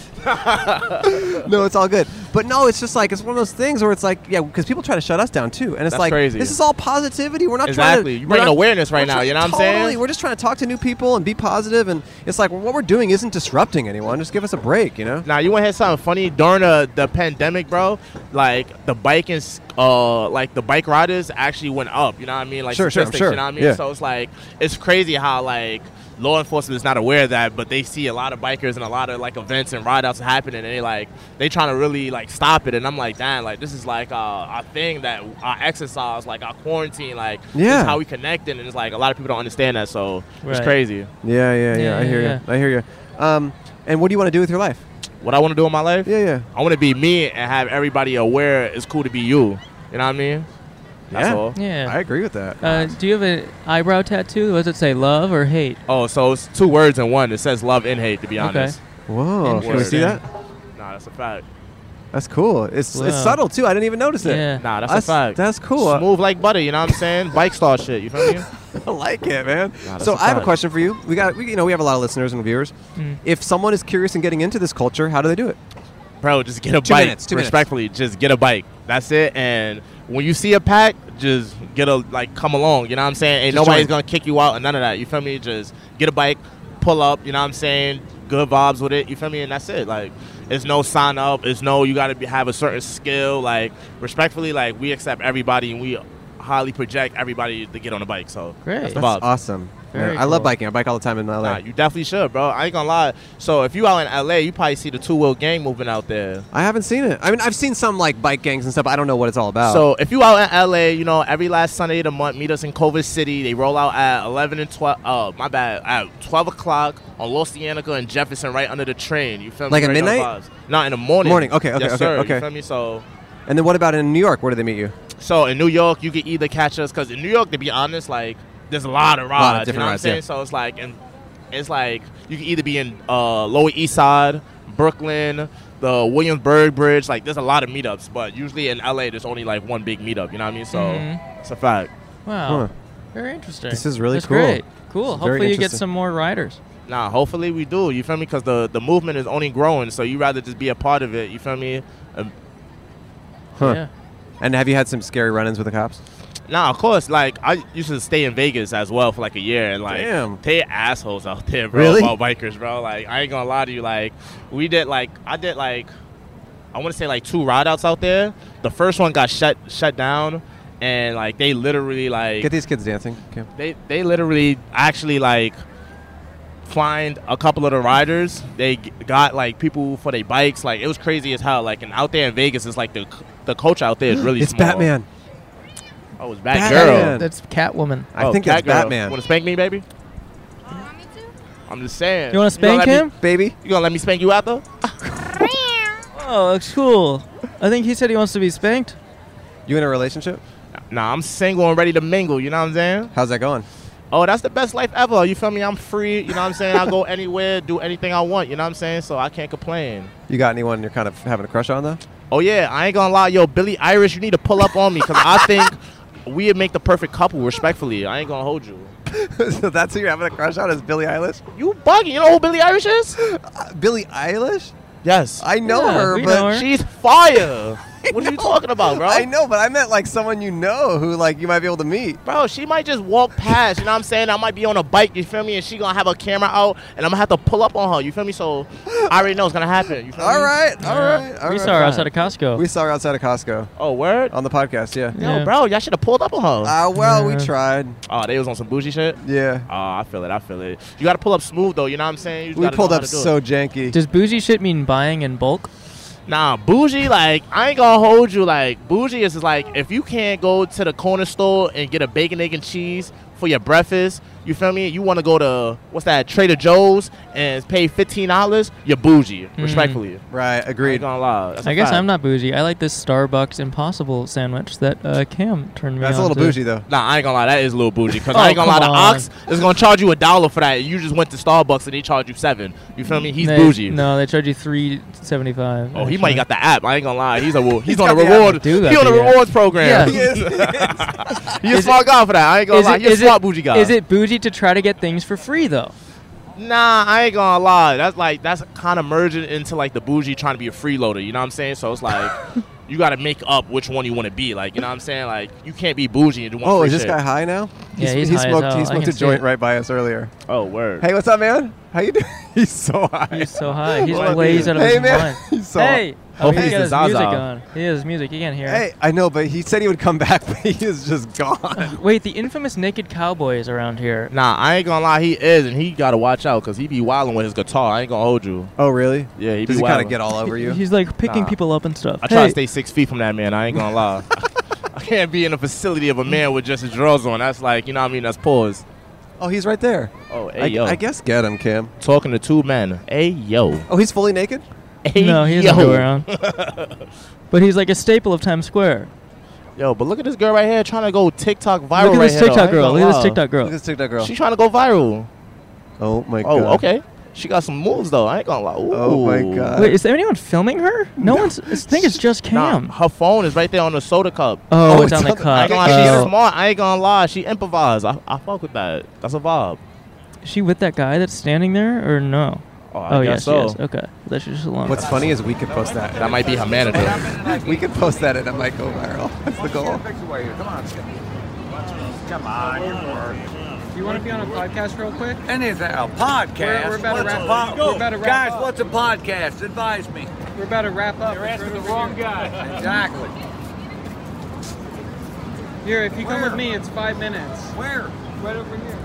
Speaker 2: no, it's all good. But no, it's just like it's one of those things where it's like, yeah, because people try to shut us down too, and it's
Speaker 10: That's
Speaker 2: like
Speaker 10: crazy.
Speaker 2: this is all positivity. We're not
Speaker 10: Exactly.
Speaker 2: trying to
Speaker 10: You're bringing
Speaker 2: we're not-
Speaker 10: awareness right
Speaker 2: we're
Speaker 10: now,
Speaker 2: try-
Speaker 10: you know what I'm
Speaker 2: totally,
Speaker 10: saying?
Speaker 2: We're just trying to talk to new people and be positive, and it's like well, what we're doing isn't disrupting anyone. Just give us a break, you know.
Speaker 10: Now you want to hear something funny during the, the pandemic, bro? Like the biking, s- uh, like the bike riders actually went up. You know what I mean? Like
Speaker 2: Sure, sure, I'm
Speaker 10: statistics,
Speaker 2: sure.
Speaker 10: You know what I mean?
Speaker 2: Yeah.
Speaker 10: So it's like it's crazy how like law enforcement is not aware of that, but they see a lot of bikers and a lot of like events and ride outs happening, and they like they trying to really like stop it. And I'm like, damn, like this is like uh, our thing that our exercise, like our quarantine, like this is
Speaker 2: Yeah.
Speaker 10: how we connecting, and it's like a lot of people don't understand that, so it's
Speaker 2: Right.
Speaker 10: crazy.
Speaker 2: Yeah, yeah, yeah.
Speaker 10: Yeah,
Speaker 2: I hear
Speaker 10: yeah,
Speaker 2: you. I hear you. Um, and what do you want to do with your life?
Speaker 10: What I want to do in my life?
Speaker 2: Yeah, yeah.
Speaker 10: I want to be me and have everybody aware it's cool to be you. You know what I mean? That's all.
Speaker 1: Yeah.
Speaker 2: I agree with that.
Speaker 1: Uh, do you have an eyebrow tattoo? What does it say, love or hate?
Speaker 10: Oh, so it's two words in one. It says love and hate, to be
Speaker 1: Okay.
Speaker 10: honest.
Speaker 2: Whoa, can we see that?
Speaker 10: Nah, that's a fact.
Speaker 2: That's cool. It's it's
Speaker 10: Wow.
Speaker 2: subtle too. I didn't even notice it.
Speaker 10: Nah, that's, a fact.
Speaker 2: That's cool.
Speaker 10: Smooth like butter, you know what I'm saying? Bike star shit, you feel me?
Speaker 2: I like it, man.
Speaker 10: Nah, that's
Speaker 2: so
Speaker 10: a
Speaker 2: I have a
Speaker 10: fact.
Speaker 2: question for you. We got, we, you know, we have a lot of listeners and viewers.
Speaker 10: Mm.
Speaker 2: If someone is curious in getting into this culture, how do they do it?
Speaker 10: Bro, just get a
Speaker 2: Two
Speaker 10: bike.
Speaker 2: minutes, two minutes.
Speaker 10: Respectfully, just get a bike. That's it. And when you see a pack, just get a like come along. You know what I'm saying? Ain't
Speaker 2: Just
Speaker 10: nobody's
Speaker 2: join.
Speaker 10: gonna kick you out and none of that. You feel me? Just get a bike, pull up, you know what I'm saying? Good vibes with it, you feel me? And that's it. Like it's no sign up, it's no you gotta be, have a certain skill. Like respectfully, like we accept everybody and we highly project everybody to get on a bike. So that's the vibe.
Speaker 2: awesome.
Speaker 10: Very
Speaker 2: Man, I love
Speaker 10: cool.
Speaker 2: biking. I bike all the time in LA.
Speaker 10: Nah, you definitely should, bro. I ain't gonna lie. So if you out in LA, you probably see the two wheel gang moving out there.
Speaker 2: I haven't seen it. I mean, I've seen some like bike gangs and stuff. I don't know what it's all about.
Speaker 10: So if you out in LA, you know every last Sunday of the month, meet us in Culver City. They roll out at eleven and twelve. Uh, my bad, at twelve o'clock on Los Cienega and Jefferson, right under the train. You feel me?
Speaker 2: Like at
Speaker 10: Right on
Speaker 2: midnight?
Speaker 10: vibes. Not in the morning.
Speaker 2: Morning. Okay, okay,
Speaker 10: Yes,
Speaker 2: okay,
Speaker 10: sir. You
Speaker 2: okay.
Speaker 10: feel me? So
Speaker 2: and then what about in New York? Where do they meet you?
Speaker 10: so in New York, you can either catch us because in New York, to be honest, like there's a lot of rides.
Speaker 2: Lot of
Speaker 10: you know
Speaker 2: different
Speaker 10: what
Speaker 2: rides,
Speaker 10: I'm
Speaker 2: yeah.
Speaker 10: saying? So it's like and it's like you can either be in uh, Lower East Side, Brooklyn, the Williamsburg Bridge. Like there's a lot of meetups, but usually in LA, there's only like one big meetup. You know what I mean? So
Speaker 1: Mhm.
Speaker 2: Mm-hmm.
Speaker 10: it's a fact.
Speaker 1: Wow. Very interesting.
Speaker 10: This is really
Speaker 1: That's
Speaker 10: cool.
Speaker 1: Great. Cool.
Speaker 10: This is very
Speaker 1: Hopefully you get
Speaker 10: interesting.
Speaker 1: some more riders.
Speaker 10: Nah, hopefully we do. You feel me? Because the the movement is only growing. So you rather just be a part of it. You feel me? Um,
Speaker 2: Huh.
Speaker 1: Yeah.
Speaker 2: And have you had some scary run-ins with the cops?
Speaker 10: Nah, of course. Like I used to stay in Vegas as well for like a year, and like
Speaker 2: Damn.
Speaker 10: they assholes out there, bro.
Speaker 2: Really?
Speaker 10: About bikers, bro. Like I ain't gonna lie to you. Like we did like I did like I want to say like two ride outs out there. The first one got shut shut down, and like they literally like
Speaker 2: Get these kids dancing. Okay.
Speaker 10: they they literally actually like find a couple of the riders. They g- got like people for their bikes. Like it was crazy as hell. Like and out there in Vegas, it's like the c- the coach out there is really
Speaker 2: It's
Speaker 10: small.
Speaker 2: Batman.
Speaker 10: Oh, it's Batgirl.
Speaker 1: Batman. That's Catwoman.
Speaker 2: I
Speaker 10: Oh,
Speaker 2: think that's Batman.
Speaker 10: Want to spank me, baby? I'm just saying.
Speaker 1: You
Speaker 10: gonna
Speaker 1: wanna spank
Speaker 10: let
Speaker 1: him?
Speaker 10: me-
Speaker 2: baby?
Speaker 10: You gonna let me spank you out though?
Speaker 1: Oh, that's cool. I think he said he wants to be spanked.
Speaker 2: You in a relationship?
Speaker 10: Nah, I'm single and ready to mingle. You know what I'm saying?
Speaker 2: How's that going?
Speaker 10: Oh, that's the best life ever. You feel me? I'm free. You know what I'm saying? I go anywhere, do anything I want. You know what I'm saying? So I can't complain.
Speaker 2: You got anyone you're kind of having a crush on though?
Speaker 10: Oh yeah, I ain't gonna lie, yo, Billy Irish, you need to pull up on me because I think we'd make the perfect couple. Respectfully, I ain't gonna hold you.
Speaker 2: so that's who you're having a crush on is Billie Eilish.
Speaker 10: You bugging? You know who Billy Irish is?
Speaker 2: Uh, Billie Eilish?
Speaker 10: Yes,
Speaker 2: I know
Speaker 1: Yeah,
Speaker 2: her,
Speaker 1: we
Speaker 2: but
Speaker 1: know her.
Speaker 10: she's fire. What are you talking about, bro?
Speaker 2: I know, but I meant like someone you know who like you might be able to meet.
Speaker 10: Bro, she might just walk past, you know what I'm saying? I might be on a bike, you feel me? And she gonna have a camera out and I'm gonna have to pull up on her, you feel me? So I already know it's gonna happen. You feel
Speaker 2: All
Speaker 10: me?
Speaker 2: right, all right, all
Speaker 1: we
Speaker 2: right.
Speaker 1: saw her outside of Costco.
Speaker 2: We saw her outside of Costco
Speaker 10: Oh word?
Speaker 2: on the podcast. Yeah.
Speaker 1: Yeah.
Speaker 10: No, bro, y'all should have pulled up on her.
Speaker 2: Ah, well,
Speaker 1: Yeah.
Speaker 2: we tried.
Speaker 10: oh, they was on some bougie shit?
Speaker 2: Yeah.
Speaker 10: Oh, I feel it, I feel it. You gotta pull up smooth though, you know what I'm saying? You just
Speaker 2: We
Speaker 10: gotta know
Speaker 2: pulled
Speaker 10: how
Speaker 2: up
Speaker 10: to do it.
Speaker 2: so janky.
Speaker 1: Does bougie shit mean buying in bulk?
Speaker 10: Nah, bougie, like, I ain't gonna hold you. Like, bougie is like, if you can't go to the corner store and get a bacon, egg, and cheese for your breakfast, you feel me? You wanna go to, what's that, Trader Joe's and pay $15, you're bougie, respectfully. I
Speaker 2: right,
Speaker 10: ain't
Speaker 2: agreed.
Speaker 10: gonna lie. That's a
Speaker 1: Mm-hmm. I guess
Speaker 10: fact.
Speaker 1: I'm not bougie. I like this Starbucks Impossible sandwich that uh, Cam turned me
Speaker 2: That's a
Speaker 1: on
Speaker 2: little
Speaker 1: to.
Speaker 2: bougie though.
Speaker 10: Nah, I ain't gonna lie. That is a little bougie. Cause
Speaker 1: Oh,
Speaker 10: I ain't gonna lie. The
Speaker 1: come on.
Speaker 10: ox is gonna charge you a dollar for that. You just went to Starbucks and they charge you seven. You feel me? He's
Speaker 1: They-
Speaker 10: bougie.
Speaker 1: No, they charge you three seventy five.
Speaker 10: Oh, he might got the app. I ain't gonna lie. He's a he's, on a
Speaker 2: got the app.
Speaker 10: reward.
Speaker 1: Do got
Speaker 10: He on a
Speaker 1: the app.
Speaker 10: rewards program.
Speaker 1: Yeah.
Speaker 2: He is.
Speaker 10: You're a
Speaker 1: Is
Speaker 10: smart guy for that. I ain't gonna lie. You're a smart bougie guy.
Speaker 1: Is it bougie to try to get things for free though?
Speaker 10: Nah, I ain't gonna lie. That's like that's kind of merging into like the bougie trying to be a freeloader. You know what I'm saying? So it's like you got to make up which one you want to be. Like you know what I'm saying? Like you can't be bougie and do one.
Speaker 2: Oh,
Speaker 10: free
Speaker 2: is this
Speaker 10: shit.
Speaker 2: guy high now?
Speaker 1: Yeah, he's
Speaker 2: he
Speaker 1: high as
Speaker 2: smoked.
Speaker 1: hell. I
Speaker 2: He smoked
Speaker 1: can
Speaker 2: a
Speaker 1: see
Speaker 2: joint
Speaker 1: it.
Speaker 2: right by us earlier.
Speaker 10: Oh word.
Speaker 2: Hey, what's up, man? How you doing? he's so high.
Speaker 1: He's so high. He's
Speaker 2: Hold on.
Speaker 1: blazed out of
Speaker 2: hey,
Speaker 1: his
Speaker 2: man.
Speaker 1: mind.
Speaker 2: He's so
Speaker 1: hey, oh,
Speaker 10: Hopefully
Speaker 1: he's
Speaker 10: it's
Speaker 1: got
Speaker 10: the
Speaker 1: his music
Speaker 10: Zaza.
Speaker 1: on. He has music. You can't hear.
Speaker 2: high.
Speaker 1: it.
Speaker 2: Hey, I know, but he said he would come back, but he is just gone.
Speaker 1: Wait, the infamous naked cowboy is around here.
Speaker 10: Nah, I ain't gonna lie. He is, and he gotta watch out because he be wilding with his guitar. I ain't gonna hold you.
Speaker 2: Oh, really?
Speaker 10: Yeah, he
Speaker 2: Does
Speaker 10: be
Speaker 2: he kind
Speaker 10: wilding.
Speaker 2: of get all over you?
Speaker 1: He's like picking
Speaker 10: Nah.
Speaker 1: people up and stuff.
Speaker 10: I try
Speaker 1: Hey,
Speaker 10: to stay six feet from that man. I ain't gonna lie. I can't be in a facility of a man with just his drawers on. That's like you know what I mean. That's pause.
Speaker 2: Oh, he's right there.
Speaker 10: Oh, hey
Speaker 2: I,
Speaker 10: yo.
Speaker 2: I guess get him, Cam.
Speaker 10: Talking to two men. Hey yo.
Speaker 2: Oh, he's fully naked.
Speaker 10: Hey
Speaker 1: no, he has
Speaker 10: yo.
Speaker 1: underwear on. but he's like a staple of Times Square.
Speaker 10: Yo, but look at this girl right here trying to go TikTok viral.
Speaker 1: Look
Speaker 10: right
Speaker 1: at this
Speaker 10: here, though. I
Speaker 1: TikTok
Speaker 10: ain't
Speaker 1: girl.
Speaker 10: gonna
Speaker 1: Look at this
Speaker 10: lie.
Speaker 1: TikTok
Speaker 2: Look at
Speaker 1: girl.
Speaker 2: this TikTok girl.
Speaker 10: She trying to go viral.
Speaker 2: Oh my
Speaker 10: Oh,
Speaker 2: god.
Speaker 10: okay. She got some moves though. I ain't gonna lie. Ooh.
Speaker 2: Oh, my God.
Speaker 1: Wait, is there anyone filming her? No, one's. I think it's just
Speaker 10: Nah,
Speaker 1: Cam.
Speaker 10: her phone is right there on the soda cup.
Speaker 1: Oh,
Speaker 2: Oh,
Speaker 1: it's on the
Speaker 2: it's on
Speaker 10: I ain't
Speaker 1: cup.
Speaker 10: gonna lie. She's
Speaker 1: Oh.
Speaker 10: smart. I ain't gonna lie. She improvised. I, I fuck with that. That's a vibe.
Speaker 1: Is she with that guy that's standing there or no?
Speaker 10: Oh, I
Speaker 1: oh
Speaker 10: guess
Speaker 1: yes,
Speaker 10: so.
Speaker 1: yes. Okay, that she's just alone.
Speaker 2: What's funny is we could post that.
Speaker 10: That might be her manager.
Speaker 2: We could post that and it might go viral. That's the goal.
Speaker 7: Do you want to be on a podcast real quick?
Speaker 11: Anything, a podcast.
Speaker 7: We're- we're about to
Speaker 11: What's
Speaker 7: wrap
Speaker 11: a
Speaker 7: up.
Speaker 11: pod-
Speaker 7: We're about to wrap
Speaker 11: Guys,
Speaker 7: up.
Speaker 11: what's a podcast? Advise me.
Speaker 7: We're about to wrap up. You're asking the wrong guy.
Speaker 11: Exactly.
Speaker 7: Here, if you come with me, it's five minutes.
Speaker 11: Where?
Speaker 7: Right over here.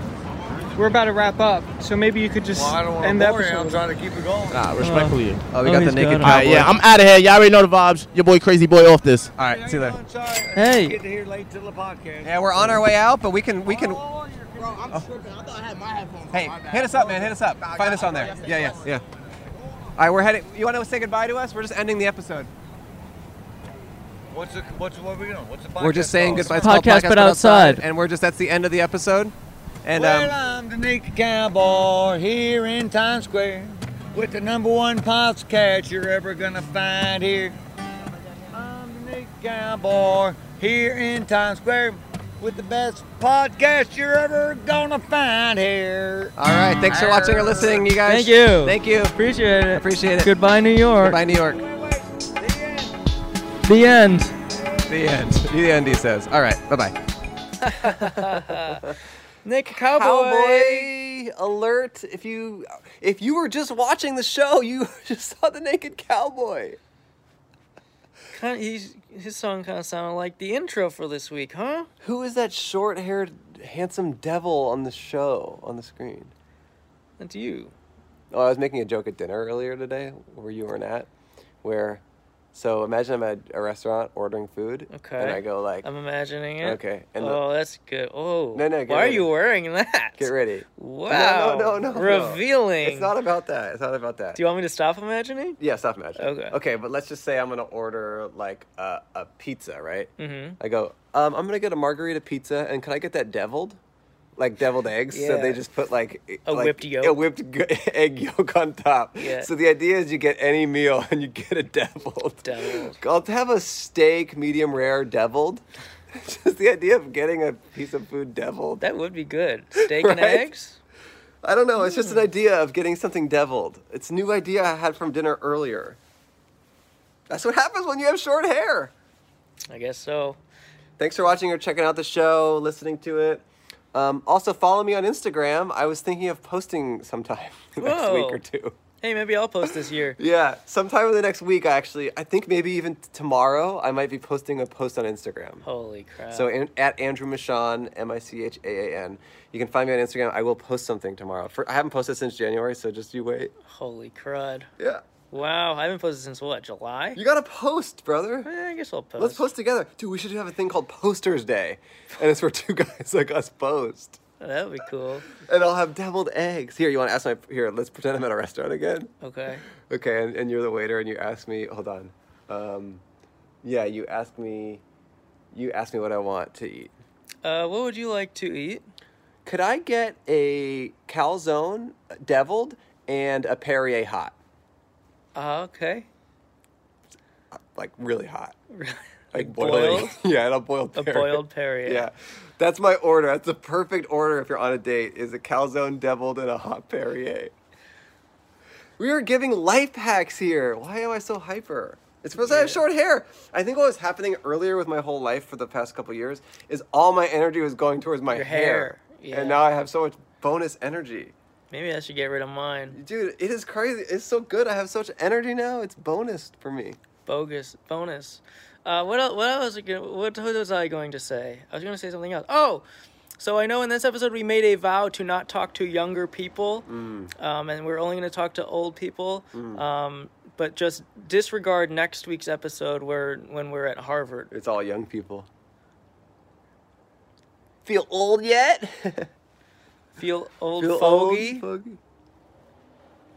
Speaker 7: We're about to wrap up, so maybe you could just
Speaker 11: Well, I don't want
Speaker 7: end
Speaker 11: to
Speaker 7: the
Speaker 11: bore you. I'm
Speaker 7: episode.
Speaker 11: trying to keep it going.
Speaker 10: Nah, respectfully.
Speaker 2: Oh, we
Speaker 1: Oh,
Speaker 2: got the
Speaker 1: he's
Speaker 2: naked
Speaker 1: got
Speaker 10: All
Speaker 1: him.
Speaker 2: cowboy.
Speaker 10: right, yeah, I'm out of here. Y'all already know the vibes. Your boy Crazy Boy off this.
Speaker 2: All right. See you later.
Speaker 1: Hey.
Speaker 11: Get here late till the podcast.
Speaker 2: Yeah, we're on our way out, but we can we can.
Speaker 11: Oh, you're
Speaker 3: Bro, I'm tripping. I thought I had my headphones.
Speaker 2: Hey, hit us up, man. Hit us up. Find us on there. Yeah, yeah, yeah. All right, we're heading. You want to say goodbye to us? We're just ending the episode.
Speaker 11: What's the, what's what are we doing? What's the podcast?
Speaker 2: We're just saying
Speaker 11: called?
Speaker 2: goodbye. It's
Speaker 1: Podcast,
Speaker 2: called
Speaker 1: but outside.
Speaker 2: and we're just that's the end of the episode. And
Speaker 11: well,
Speaker 2: um,
Speaker 11: I'm the naked cowboy here in Times Square with the number one podcast you're ever gonna find here. I'm the naked cowboy here in Times Square with the best podcast you're ever gonna find here.
Speaker 2: all right, thanks for watching or listening, you guys.
Speaker 1: Thank you.
Speaker 2: Thank you.
Speaker 1: Appreciate it.
Speaker 2: Appreciate it.
Speaker 1: Goodbye, New York.
Speaker 2: Goodbye, New York.
Speaker 1: The end.
Speaker 2: The end. The end. He says. All right. Bye bye.
Speaker 1: Nick
Speaker 2: Cowboy alert! If you if you were just watching the show, you just saw the naked cowboy.
Speaker 1: Kind he's, his song kind of sounded like the intro for this week, huh?
Speaker 2: Who is that short-haired, handsome devil on the show on the screen?
Speaker 1: That's you.
Speaker 2: Oh, I was making a joke at dinner earlier today, where you weren't at, where. So imagine I'm at a restaurant ordering food,
Speaker 1: Okay.
Speaker 2: and I go like,
Speaker 1: I'm imagining it.
Speaker 2: Okay, and the-
Speaker 1: oh, that's good. Oh.
Speaker 2: No, no, get
Speaker 1: Why
Speaker 2: ready.
Speaker 1: are you wearing that?
Speaker 2: "Get ready."
Speaker 1: Wow.
Speaker 2: No, no, no, no.
Speaker 1: Revealing.
Speaker 2: It's not about that. It's not about that.
Speaker 1: Do you want me to stop imagining?
Speaker 2: Yeah, stop magic.
Speaker 1: Okay.
Speaker 2: Okay, but let's just say I'm gonna order like a, a pizza, right?
Speaker 1: Mhm.
Speaker 2: I go, um, I'm gonna get a margarita pizza, and can I get that deviled? Like deviled eggs, so
Speaker 1: Yeah.
Speaker 2: they just put like e,
Speaker 1: A
Speaker 2: like,
Speaker 1: whipped yolk.
Speaker 2: a whipped g- egg yolk on top.
Speaker 1: Yeah.
Speaker 2: So the idea is you get any meal and you get a deviled. Deviled. I'll have a steak, medium rare, deviled. just the idea of getting a piece of food deviled.
Speaker 1: That would be good. Steak and
Speaker 2: Right?
Speaker 1: eggs?
Speaker 2: I don't know. It's just an
Speaker 1: Hmm.
Speaker 2: idea of getting something deviled. It's a new idea I had from dinner earlier. That's what happens when you have short hair.
Speaker 1: I guess so.
Speaker 2: Thanks for watching or checking out the show, listening to it. Um, also, follow me on Instagram. I was thinking of posting sometime next
Speaker 1: Whoa.
Speaker 2: week or two.
Speaker 1: Hey, maybe I'll post this year.
Speaker 2: Yeah, sometime in the next week, actually. I think maybe even t- tomorrow, I might be posting a post on Instagram.
Speaker 1: Holy crap.
Speaker 2: So an, at Andrew Michon, M I C H A A N. You can find me on Instagram. I will post something tomorrow. For, I haven't posted since January, so just you wait.
Speaker 1: Holy crud.
Speaker 2: Yeah.
Speaker 1: Wow, I haven't posted since what, July?
Speaker 2: You gotta post, brother.
Speaker 1: I guess I'll post.
Speaker 2: Let's post together. Dude, we should have a thing called Posters Day. And it's where two guys like us post.
Speaker 1: that would be cool.
Speaker 2: And I'll have deviled eggs. Here, you wanna ask my. Here, let's pretend I'm at a restaurant again.
Speaker 1: Okay.
Speaker 2: Okay, and, and you're the waiter and you ask me. Hold on. Um, yeah, you ask me. You ask me what I want to eat.
Speaker 1: Uh, what would you like to eat?
Speaker 2: Could I get a calzone deviled and a Perrier hot?
Speaker 1: Uh, okay.
Speaker 2: Like really hot.
Speaker 1: Really?
Speaker 2: Like
Speaker 1: boiled?
Speaker 2: boiling. yeah, and a boiled
Speaker 1: A
Speaker 2: Perrier.
Speaker 1: boiled Perrier.
Speaker 2: Yeah. That's my order. That's the perfect order if you're on a date is a calzone deviled and a hot Perrier. We are giving life hacks here. Why am I so hyper? It's because I have short hair. I think what was happening earlier with my whole life for the past couple years is all my energy was going towards my
Speaker 1: Your hair, yeah.
Speaker 2: And now I have so much bonus energy.
Speaker 1: Maybe I should get rid of mine.
Speaker 2: Dude, it is crazy. It's so good. I have such energy now. It's bonus for me.
Speaker 1: Bogus. Bonus. Uh, what else, what else was I gonna, what, what was I going to say? I was going to say something else. Oh, so I know in this episode we made a vow to not talk to younger people, um, and we're only going to talk to old people.
Speaker 2: Mm.
Speaker 1: Um, but just disregard next week's episode where when we're at Harvard.
Speaker 2: It's all young people. Feel old yet?
Speaker 1: Feel old
Speaker 2: Feel
Speaker 1: fogey.
Speaker 2: old, fogey.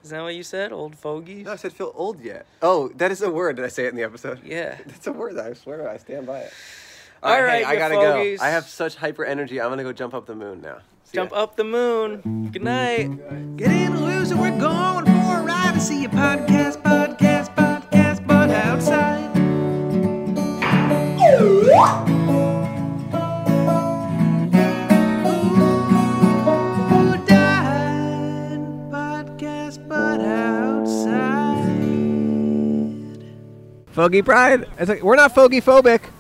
Speaker 1: Is that what you said? Old fogey.
Speaker 2: No, I said feel old yet. Oh, that is a word. Did I say it in the episode?
Speaker 1: Yeah.
Speaker 2: That's a word. I swear. I stand by it.
Speaker 1: All
Speaker 2: All right,
Speaker 1: right,
Speaker 2: hey, I
Speaker 1: you
Speaker 2: gotta
Speaker 1: fogies.
Speaker 2: go. I have such hyper energy. I'm gonna go jump up the moon now.
Speaker 1: Jump up the moon. Good night.
Speaker 3: Get in, lose, and we're going for a ride to see a podcast, podcast, podcast, but outside. Who died? Podcast, but outside.
Speaker 2: Foggy pride. It's like, we're not foggy phobic.